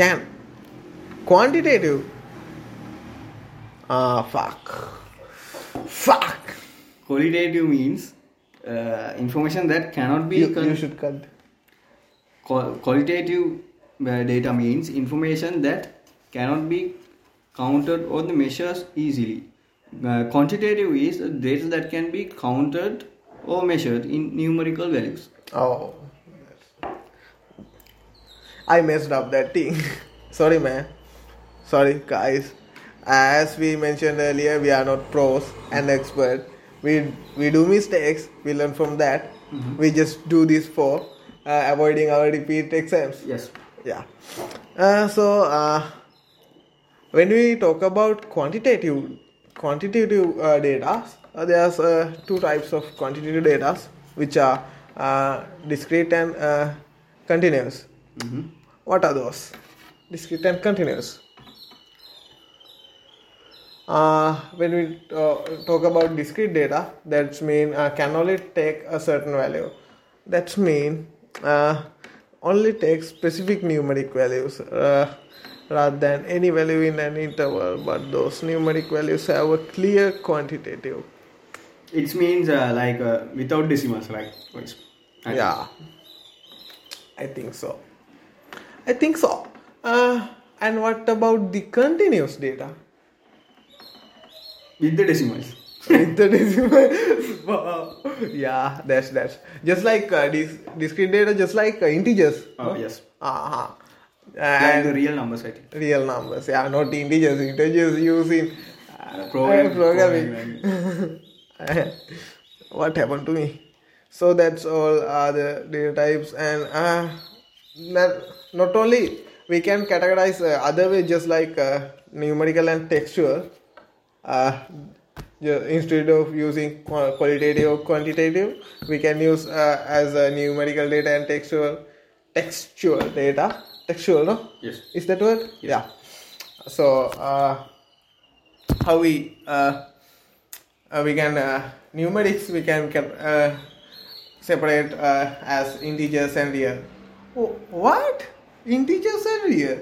can quantitative ah fuck fuck
Qualitative means uh, information that cannot be
you,
con-
you should cut
qual- qualitative uh, data means information that cannot be counted or the measures easily. Uh, quantitative is data that can be counted or measured in numerical values.
oh I messed up that thing. Sorry, man. Sorry, guys. As we mentioned earlier, we are not pros and expert. We we do mistakes. We learn from that. We just do this for uh, avoiding our repeat exams.
Yes.
Yeah. Uh, so uh, when we talk about quantitative quantitative uh, data, uh, there's uh, two types of quantitative data, which are uh, discrete and uh, continuous.
hmm
What are those? Discrete and continuous. Uh, when we uh, talk about discrete data, that's mean uh, can only take a certain value. That's mean uh, only take specific numeric values uh, rather than any value in an interval. But those numeric values have a clear quantitative
It means uh, like uh, without decimals, right? Right. I think.
Yeah. I think so. I think so. Uh, and what about the continuous data?
With the decimals.
With the decimal- Wow. yeah, that's that's just like uh, dis- discrete data, just like uh, integers.
Oh, yes.
Uh-huh.
Like
And
the real numbers, I think.
real numbers, yeah, not integers. Integers using
Uh, Program-
programming. what happened to me? So that's all are the data types, and uh, not, not only we can categorize uh, other way, just like uh, numerical and textual. Uh, ju- instead of using qua- qualitative or quantitative, we can use uh, as uh, numerical data and textual, textual data, textual, no?
Yes.
Is that word? Yeah. So uh, how we uh, uh, we can uh, numerics we can can, uh, separate uh, as integers and real. Wh- What integers and real?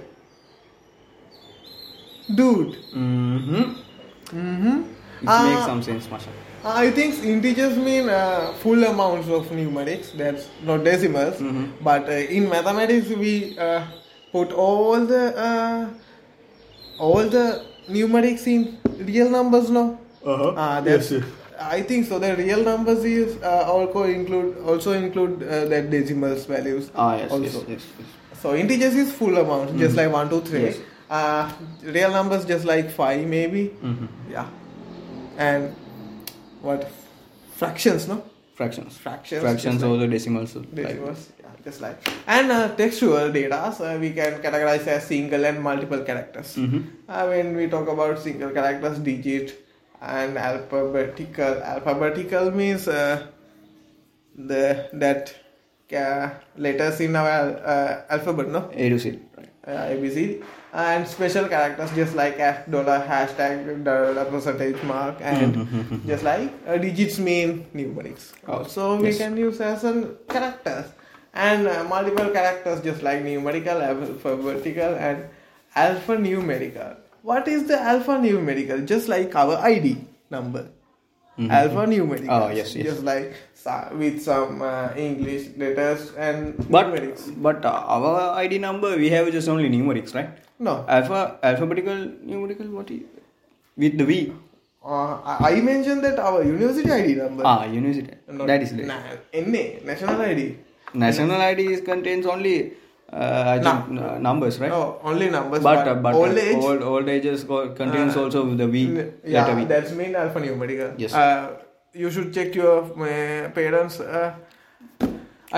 Dude,
Mm-hmm.
mm-hmm.
It makes some sense, Masha.
I think integers mean uh, full amounts of numerics. That's not decimals.
Mm-hmm.
But uh, in mathematics, we uh, put all the uh, all the numerics in real numbers. No.
Uh-huh.
Uh, that's, I think so. The real numbers is uh, also include also include uh, that decimals values.
Ah, yes,
also.
yes, yes, yes.
So integers is full amount, just like one, two, three.
Mm-hmm. Yes.
Uh, real numbers just like five maybe.
Mhm.
Yeah. And what fractions, no?
Fractions.
Fractions,
Fractions
just
or the decimals. uh, like-
Decimals, yeah, just like. And uh, textual data, so we can categorize as single and multiple characters.
Mhm.
Uh, when we talk about single characters, digit and alphabetical. Alphabetical means uh, the that uh, letters in our uh, alphabet, no?
A to Z. Right.
uh, ABC and special characters just like a dollar hashtag dollar percentage mark
Mm-hmm,
and just like uh, digits mean numerics
Oh,
so we
yes.
can use as an characters and uh, multiple characters just like numerical alphabetical and alphanumerical what is the alphanumerical just like our id number
mm-hmm.
alphanumerical
Oh, yes, yes.
just like sa- with some uh, english letters and
But
numerics
but uh, our ID number we have just only numerics, right?
no
Alpha alphabetical numerical what is with the V.
Uh, I I mentioned that our university ID number.
ah, university. that is the
na- NA, national ID.
national ID is contains only uh, I think uh, numbers, right?
No, only numbers.
But uh, but
old
uh,
age. Uh,
old, old ages co- contains also the V letter
yeah,
V.
that's mean alphanumeric.
Yes.
Uh, you should check your uh, parents' uh,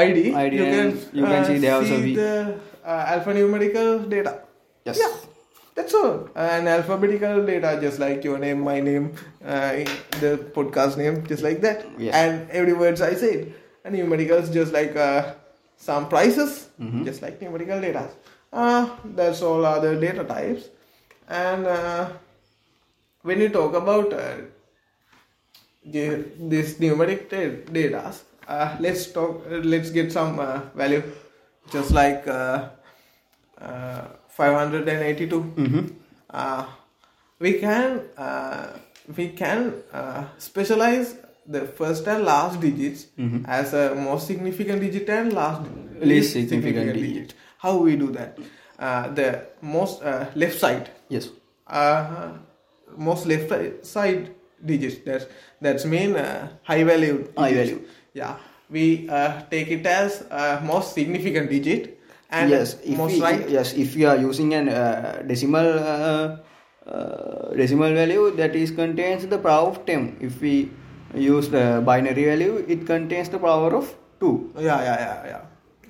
ID.
ID
you can,
and you can
uh,
see they also
see
V.
the uh, alphanumerical data.
Yes.
Yeah. That's all. And alphabetical data, just like your name, my name, uh, the podcast name, just like that.
Yes.
And every words I said. And numericals, just like uh, some prices, just like numerical data. Uh, that's all other data types. And uh, when you talk about uh, the, this numeric ta- data, uh, let's talk. uh, Let's get some uh, value, just like uh, uh, 582.
Mm-hmm.
Uh, we can uh, we can uh, specialize the first and last digits as a most significant digit and last
Mm-hmm. Least significant digit.
How we do that? Uh, the most uh, left side
Yes.
uh, most left side digits. That's that's mean uh, high value.
High
digits.
value.
Yeah, we uh, take it as uh, most significant digit and
yes, if
most
we,
right.
yes, if you are using an uh, decimal uh, uh, decimal value that is contains the power of 10. If we use the binary value, it contains the power of 2.
Yeah, yeah, yeah, yeah,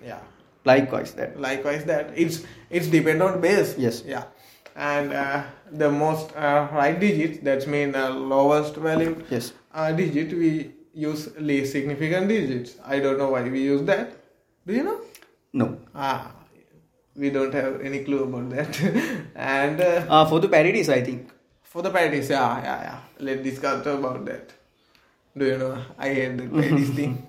yeah.
Likewise that.
Likewise, that it's it's depend on base.
Yes.
Yeah. And uh, the most uh, right digit, that's mean uh, lowest value
Yes.
uh, digit, we use least significant digits. I don't know why we use that. Do you know?
No.
Ah, we don't have any clue about that. and uh,
Uh, for the parodies, I think.
for the parodies, yeah, yeah, yeah. Let's discuss about that. Do you know? I hate the parodies thing.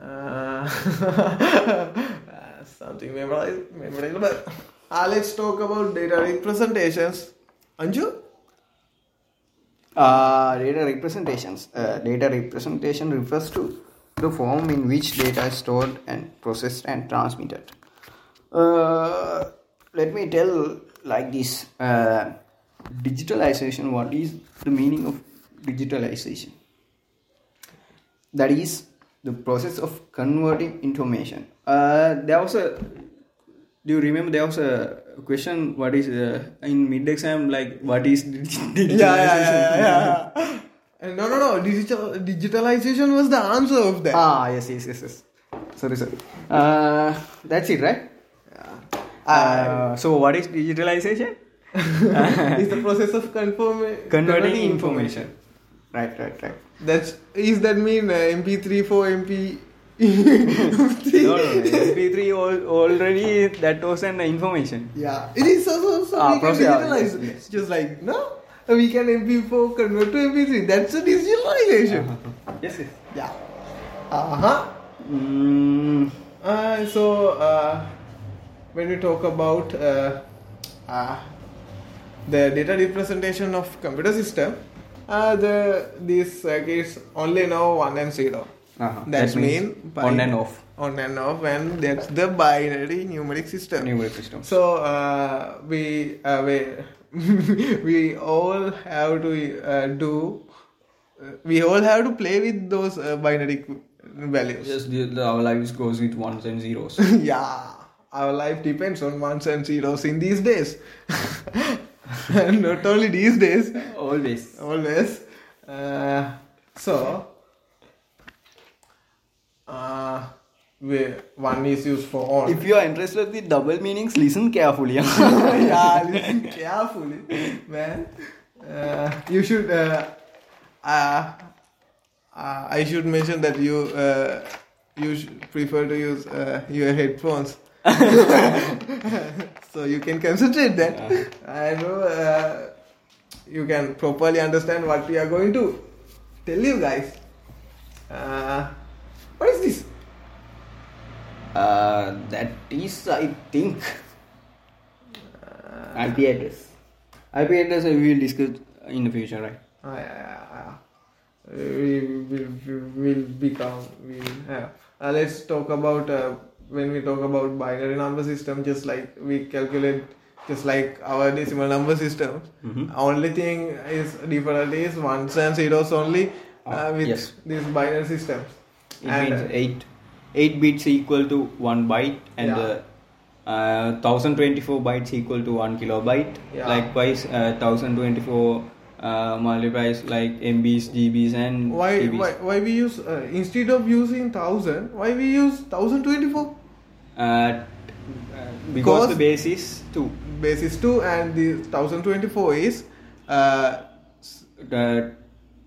Uh, uh, something memorable. memorable. uh, Ah, let's talk about data representations. Anju?
Uh, data representations. Uh, data representation refers to the form in which data is stored and processed and transmitted. Uh, let me tell like this uh, digitalization. What is the meaning of digitalization? That is the process of converting information. Uh, there was a do you remember there was a question what is uh, in mid exam like what is digitalization
yeah, yeah, yeah, yeah, yeah. And no, no, no. Digital digitalization was the answer of that.
ah yes yes yes yes sorry sorry uh, that's it right uh, so what is digitalization
it's the process of confirm-
converting information right right right
That's is that mean uh, MP3 for MP?
no, no, no. mp3 al- already that was an information
yeah, it is so so so
Ah,
we can
process- yeah,
digitalize.
yes, yes.
Just like no, we can MP4 convert to MP3. That's a digitalization.
Uh-huh. yes yes
Yeah. Uh huh.
mm,
Uh, so uh, when we talk about uh, uh, the data representation of computer system, uh, the these circuits only know one and 0
Uh-huh.
That's
That means
mean
on and off.
On and off, and that's the binary numeric system.
numeric system
So uh, we uh, we we all have to uh, do. Uh, we all have to play with those uh, binary values.
just the, the, our lives goes with ones and zeros
yeah, our life depends on ones and zeros in these days. and not only these days,
always
always. Uh, so, uh, we, one is used for all.
if you are interested with double meanings listen carefully Uh,
yeah, Ah, listen carefully, man. Uh, you should. Uh, uh, uh, I should mention that you uh, you sh- prefer to use uh, your headphones, so you can concentrate that. I know uh, you can properly understand what we are going to tell you guys. Uh, what is this?
Uh, that is, I think,
Uh,
IP address. IP address we will discuss in the future, right?
Ah, yeah, yeah, yeah. We will will will become we yeah. Uh, let's talk about uh, when we talk about binary number system. Just like we calculate, just like our decimal number system.
Mm-hmm.
Only thing is different is ones and zeros only uh,
Ah,
with
yes.
this binary system.
It
and uh,
means eight, eight bits equal to one byte, and
Yeah.
uh, uh, thousand twenty-four bytes equal to one kilobyte.
Yeah.
Likewise, uh, thousand twenty-four uh, multiplies like MBs, GBs, and
why,
TBs.
why why we use uh, instead of using thousand? Why we use thousand twenty four?
Uh, t- uh, because
Because-
the base is two.
Base is two, and the thousand twenty four is uh,
The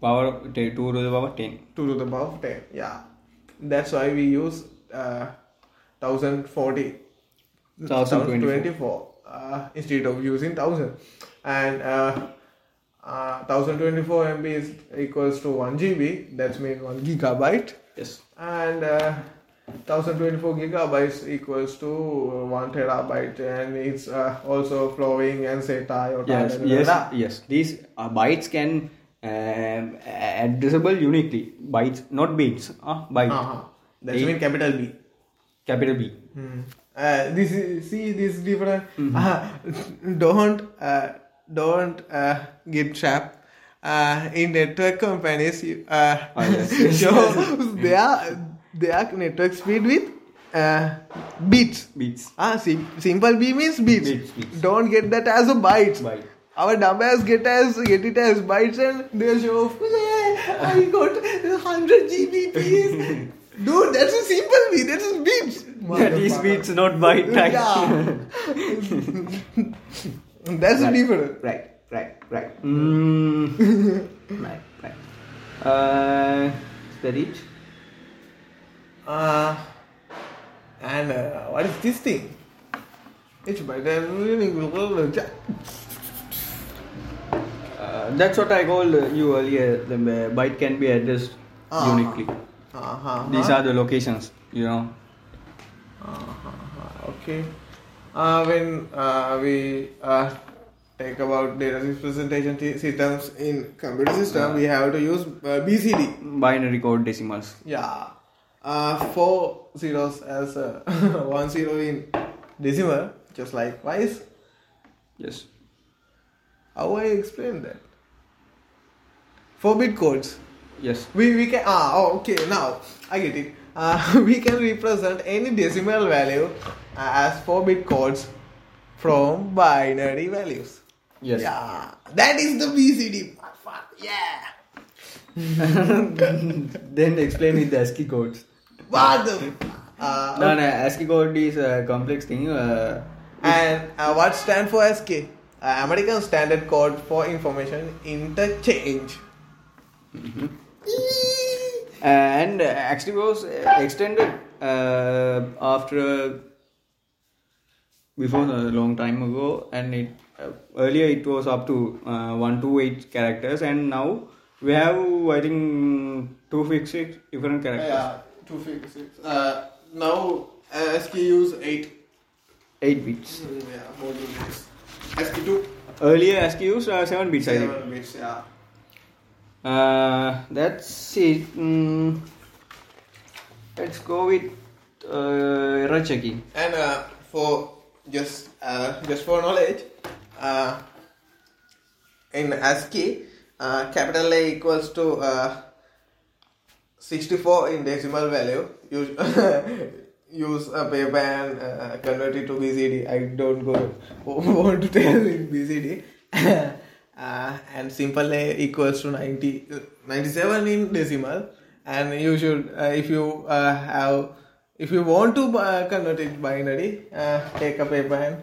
power t- two to the power ten.
2 to the power of 10 yeah that's why we use uh, 1040 1024 uh, instead of using 1000 and uh, uh, 1024 MB is equals to 1 GB that's mean 1 gigabyte
Yes.
and uh, 1024 gigabytes equals to uh, 1 terabyte and it's uh, also flowing and SATA or
yes
da- da- da-
yes
da.
yes these uh, bytes can um, addressable uniquely bytes not bits uh, byte
uh-huh. that's
Eight.
mean capital B
capital b
Mm. Uh, this is, see this different.
Mm-hmm.
Uh, don't uh, don't uh, get trapped. Uh, in network companies, you, uh,
Ah, yes, yes,
so they are they are network speed with uh, bits.
bits
Ah, sim- simple B means bits.
Bits, bits.
Don't get that as a byte.
Byte.
Our dumbass get as get it as bytes and they show off. "Yeah, I got 100 GBPs. Dude, that's a simple B. That is bits.
that is bits not byte right
Yeah. that's a different.
right right right mm. right right uh is that it
Uh, and uh, what is this thing? It's better.
uh, that's what I called uh, you earlier. The uh, byte can be addressed
Ah.
uniquely.
Uh-huh.
These are the locations, you know.
Ah, Uh, okay. Uh, when uh, we uh, ah, Take about data representation t- systems in computer system. We have to use uh, BCD.
binary code decimals
Yeah. Uh, four zeros as uh, one zero in decimal, just like twice.
yes
How I explain that? Four bit codes.
yes
We we can ah oh, okay now I get it. Uh, we can represent any decimal value uh, as four bit codes from binary values.
yes
Yeah, that is the BCD. Yeah.
then explain with the ascii codes
What the? Uh,
no no ascii code is a complex thing uh,
And uh, what stand for SK? Uh, American Standard Code for Information Interchange.
and actually was extended uh, after before a long time ago and it uh, earlier it was up to uh, 128 characters and now we have i think 256 different characters
Yeah, two figures. Uh, now uh, SK use eight.
8 bits
Mm, yeah, more than this. SK two.
earlier ascii used uh, 7 bits i think
Seven bits. Yeah.
Uh, that's it. Mm, let's go with uh, error checking.
And uh, for just uh, just for knowledge, uh, in ASCII, uh, capital A equals to uh, 64 in decimal value. Use use a paper and uh, convert it to BCD. I don't go want to tell in BCD. uh, and simple A equals to 90, 97 in decimal. And you should uh, if you uh, have if you want to uh, convert it binary, uh, take a paper and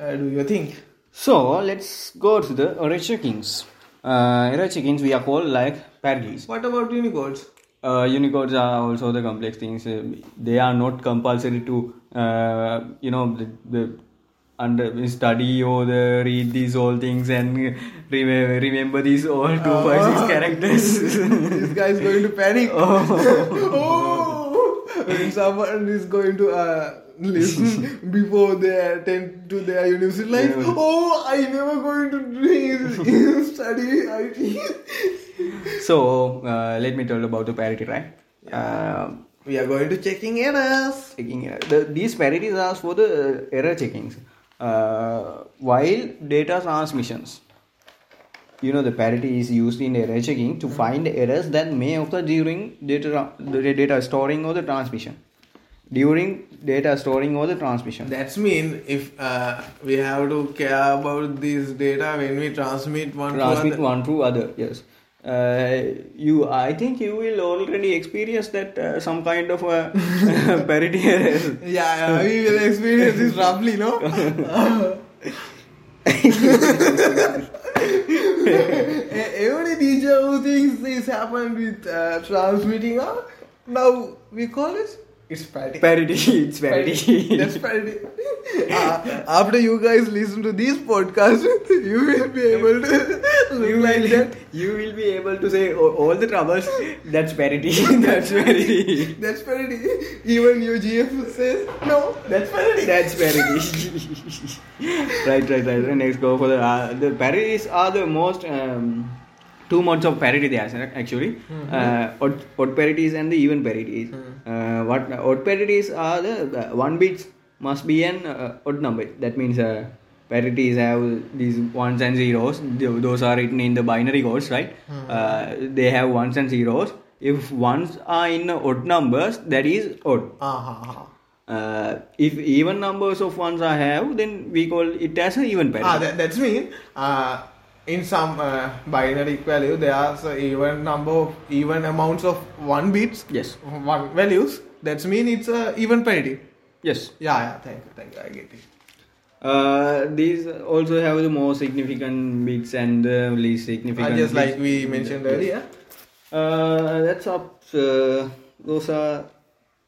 uh, do your thing.
So let's go to the error checkings. Uh, error checkings we are called like parodies.
What about unicodes?
Uh, unicodes are also the complex things. Uh, they are not compulsory to uh, you know the, the under study or the read these all things and remember remember these all two five six characters.
this guy is going to panic. Oh. When someone is going to uh, listen before they attend to their university life, oh, I never going to drink, study IT.
so uh, let me tell about the parity, right? Uh,
we are going to checking errors.
checking error. The, these parities are for the uh, error checkings. Uh, while data transmissions, you know the parity is used in error checking to find errors that may occur during data the data storing or the transmission. During data storing or the transmission.
That's mean if uh, we have to care about this data when we transmit one to
transmit
other.
one to other yes uh, you i think you will already experience that uh, some kind of a parity errors
Yeah, yeah, we will experience this roughly, no? E-, Every teacher who thinks this happened with uh, transmitting, uh, now we call it it's parody.
parity it's parity
That's parody. Uh, after you guys listen to this podcast, you will be able to
you
look like
will,
that.
you will be able to say all, all the troubles that's parity that's parity
That's parody. Even your GF says no. That's parody.
that's parity right right right next go for the uh, the parodies are the most um, two modes of parody there are, actually uh, odd, odd parodies and the even parodies uh, what odd parodies are the the uh, one bits must be an uh, odd number that means uh, parodies have these ones and zeros Tho- those are written in the binary codes right uh, they have ones and zeros if ones are in odd numbers that is odd
Ah,
uh, if even numbers of ones I have, then we call it as an even
ah,
parity.
that, that's mean uh, in some uh, binary value there are so even number of even amounts of one bits
yes,
one values that's mean it's a even parity
yes.
yeah yeah thank you thank you i get it
Uh, these also have the more significant bits and the least significant.
uh, just
bits.
like we mentioned earlier
Uh, that's up. Uh, those are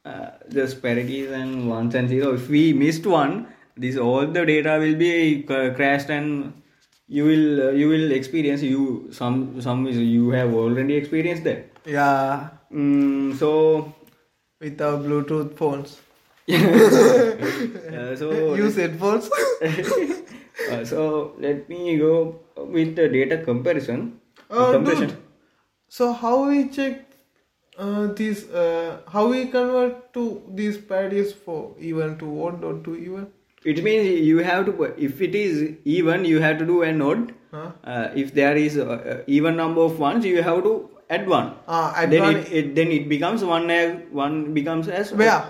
uh, just parities and ones and zero. If we missed one, this all the data will be uh, crashed and you will uh, you will experience you some some is you have already experienced that.
yeah
Mm, so
with our bluetooth phones
uh, so
use headphones
Uh, so let me go with the data comparison.
Uh,
Compression.
dude, so how we check uh, these? Uh, how we convert to these parties for even to odd or to even?
It means you have to, if it is even, you have to do an odd.
Huh?
Uh, if there is uh, uh, even number of ones, you have to add one.
Ah, add
then
one.
It, it then it becomes one. as- One becomes as
Yeah,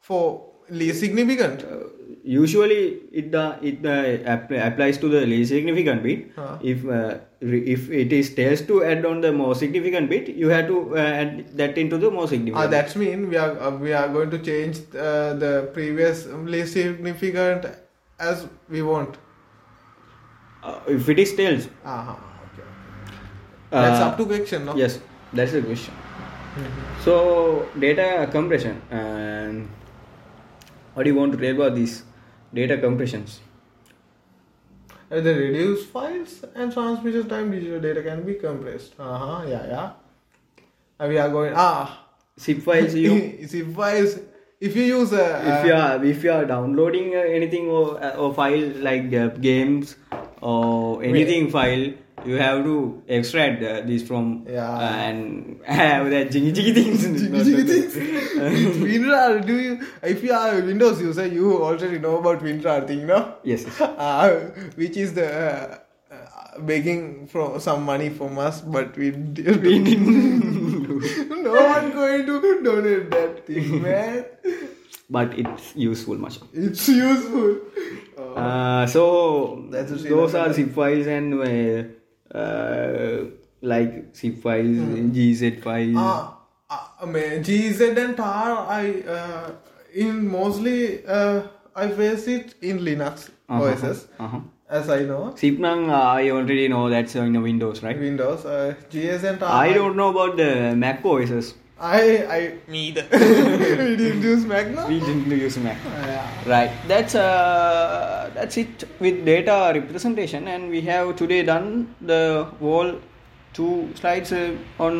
for least significant.
Uh, usually it uh, it uh, app- applies to the least significant bit.
Huh.
If uh, re- if it is test to add on the more significant bit, you have to uh, add that into the more
Ah,
significant.
that's mean we are uh, we are going to change uh, the previous least significant as we want.
Uh, if it is tails,
Uh-huh. Okay. That's
uh,
up to question, no? Mm-hmm.
Yes, that's the question. So data compression and what do you want to tell about these data compressions?
Uh, The reduced files and transmission time digital data can be compressed. Uh huh. Yeah, yeah. And we are going ah.
Zip files you
zip files. If you use a
if you are if you are downloading uh, anything or or file like uh, games or anything file you have to extract uh, this from uh,
Yeah.
and have that jiggy jiggy things
WinRAR, do you? If you are a Windows user, you already know about WinRAR thing, no?
yes yes.
Uh, which is the uh, uh, begging for some money from us, but we didn't.
We didn't.
no one going to donate that thing, man.
but it's useful much
It's useful. Uh,
Uh, so
That's a
those
Sri
are zip files and uh, uh, like zip files, GZ files.
Hmm. Ah, ah, I mean, GZ and tar, I uh, in mostly uh, I face it in Linux OSs,
uh-huh.
as I know.
Zip nang, uh, I already know that's in the Windows, right?
Windows, uh, GS and tar.
I don't know about the Mac OSs.
I I me either. we didn't use Magna.
We didn't use Mac.
Oh, Yeah.
Right. That's uh, that's it with data representation, and we have today done the whole two slides uh, on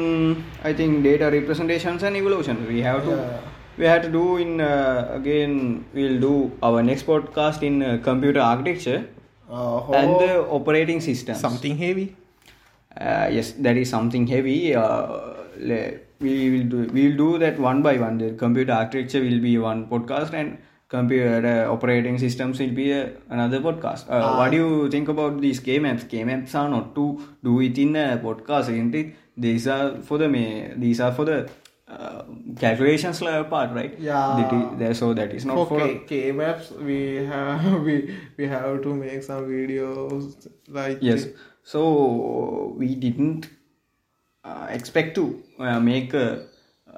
I think data representations and evolution. We have to
Yeah.
we have to do in uh, again. We'll do our next podcast in uh, computer architecture
Uh,
and
ho-
the operating systems.
something heavy.
Uh, yes, that is something heavy. Uh, le- we will do we will do that one by one. The computer architecture will be one podcast, and computer uh, operating systems will be uh, another podcast. Uh, what do you think about these K maps? K maps are not to do it in a podcast, isn't it? These are for the ma- these are for the uh, calculations layer part, right?
Yeah.
That is, there- so that is not
For
for
K, K maps, we have we we have to make some videos like
yes so we didn't uh, expect to uh, make a,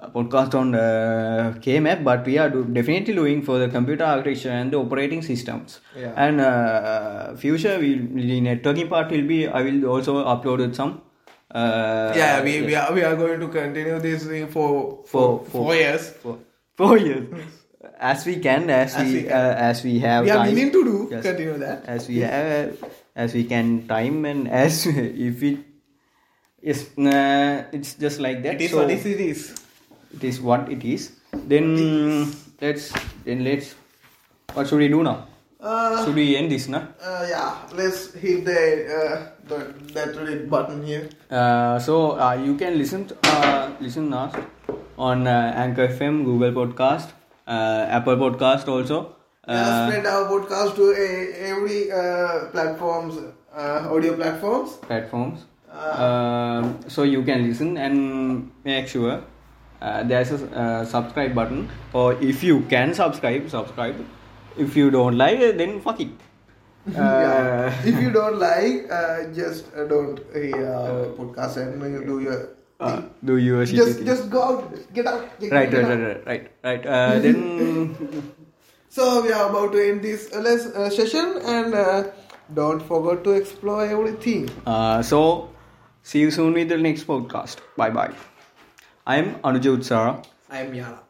a podcast on uh, kmap but we are do- definitely doing for the computer architecture and the operating systems
Yeah.
and uh, future we the networking part will be i will also upload some uh,
yeah, we, we are we are going to continue this thing for
For-
for
for-
four years.
for four years as we can as, we, Uh, as we have
We are
time.
willing to do
Yes.
continue that.
as we have as we can time and as if it yes uh, it's just like that
It is
so
what it is.
it is what it is then let's then let's what should we do now
Uh,
should we end this now
uh, yeah, let's hit the uh, the that red button here.
Uh, so uh, you can listen to, uh, listen us on uh, Anchor FM, Google Podcast, uh, Apple Podcast also.
yeah,
Uh,
spread our podcast to a, every uh, platforms, uh, audio platforms.
platforms. Um so you can listen and make sure uh, there's a uh, subscribe button. Or if you can subscribe, subscribe. If you don't like it, then fuck it. Uh,
yeah. If you don't like, uh, just uh, don't hear our podcast and you do your.
uh, do you
Just just go out, get out. Get,
right,
get
right,
out.
right, right, right, right. Uh, then
So we are about to end this uh, les- uh, session and uh, don't forget to explore everything.
Uh, so, see you soon with the next podcast. Bye bye. I am Anujay Utsara.
I'm Yara.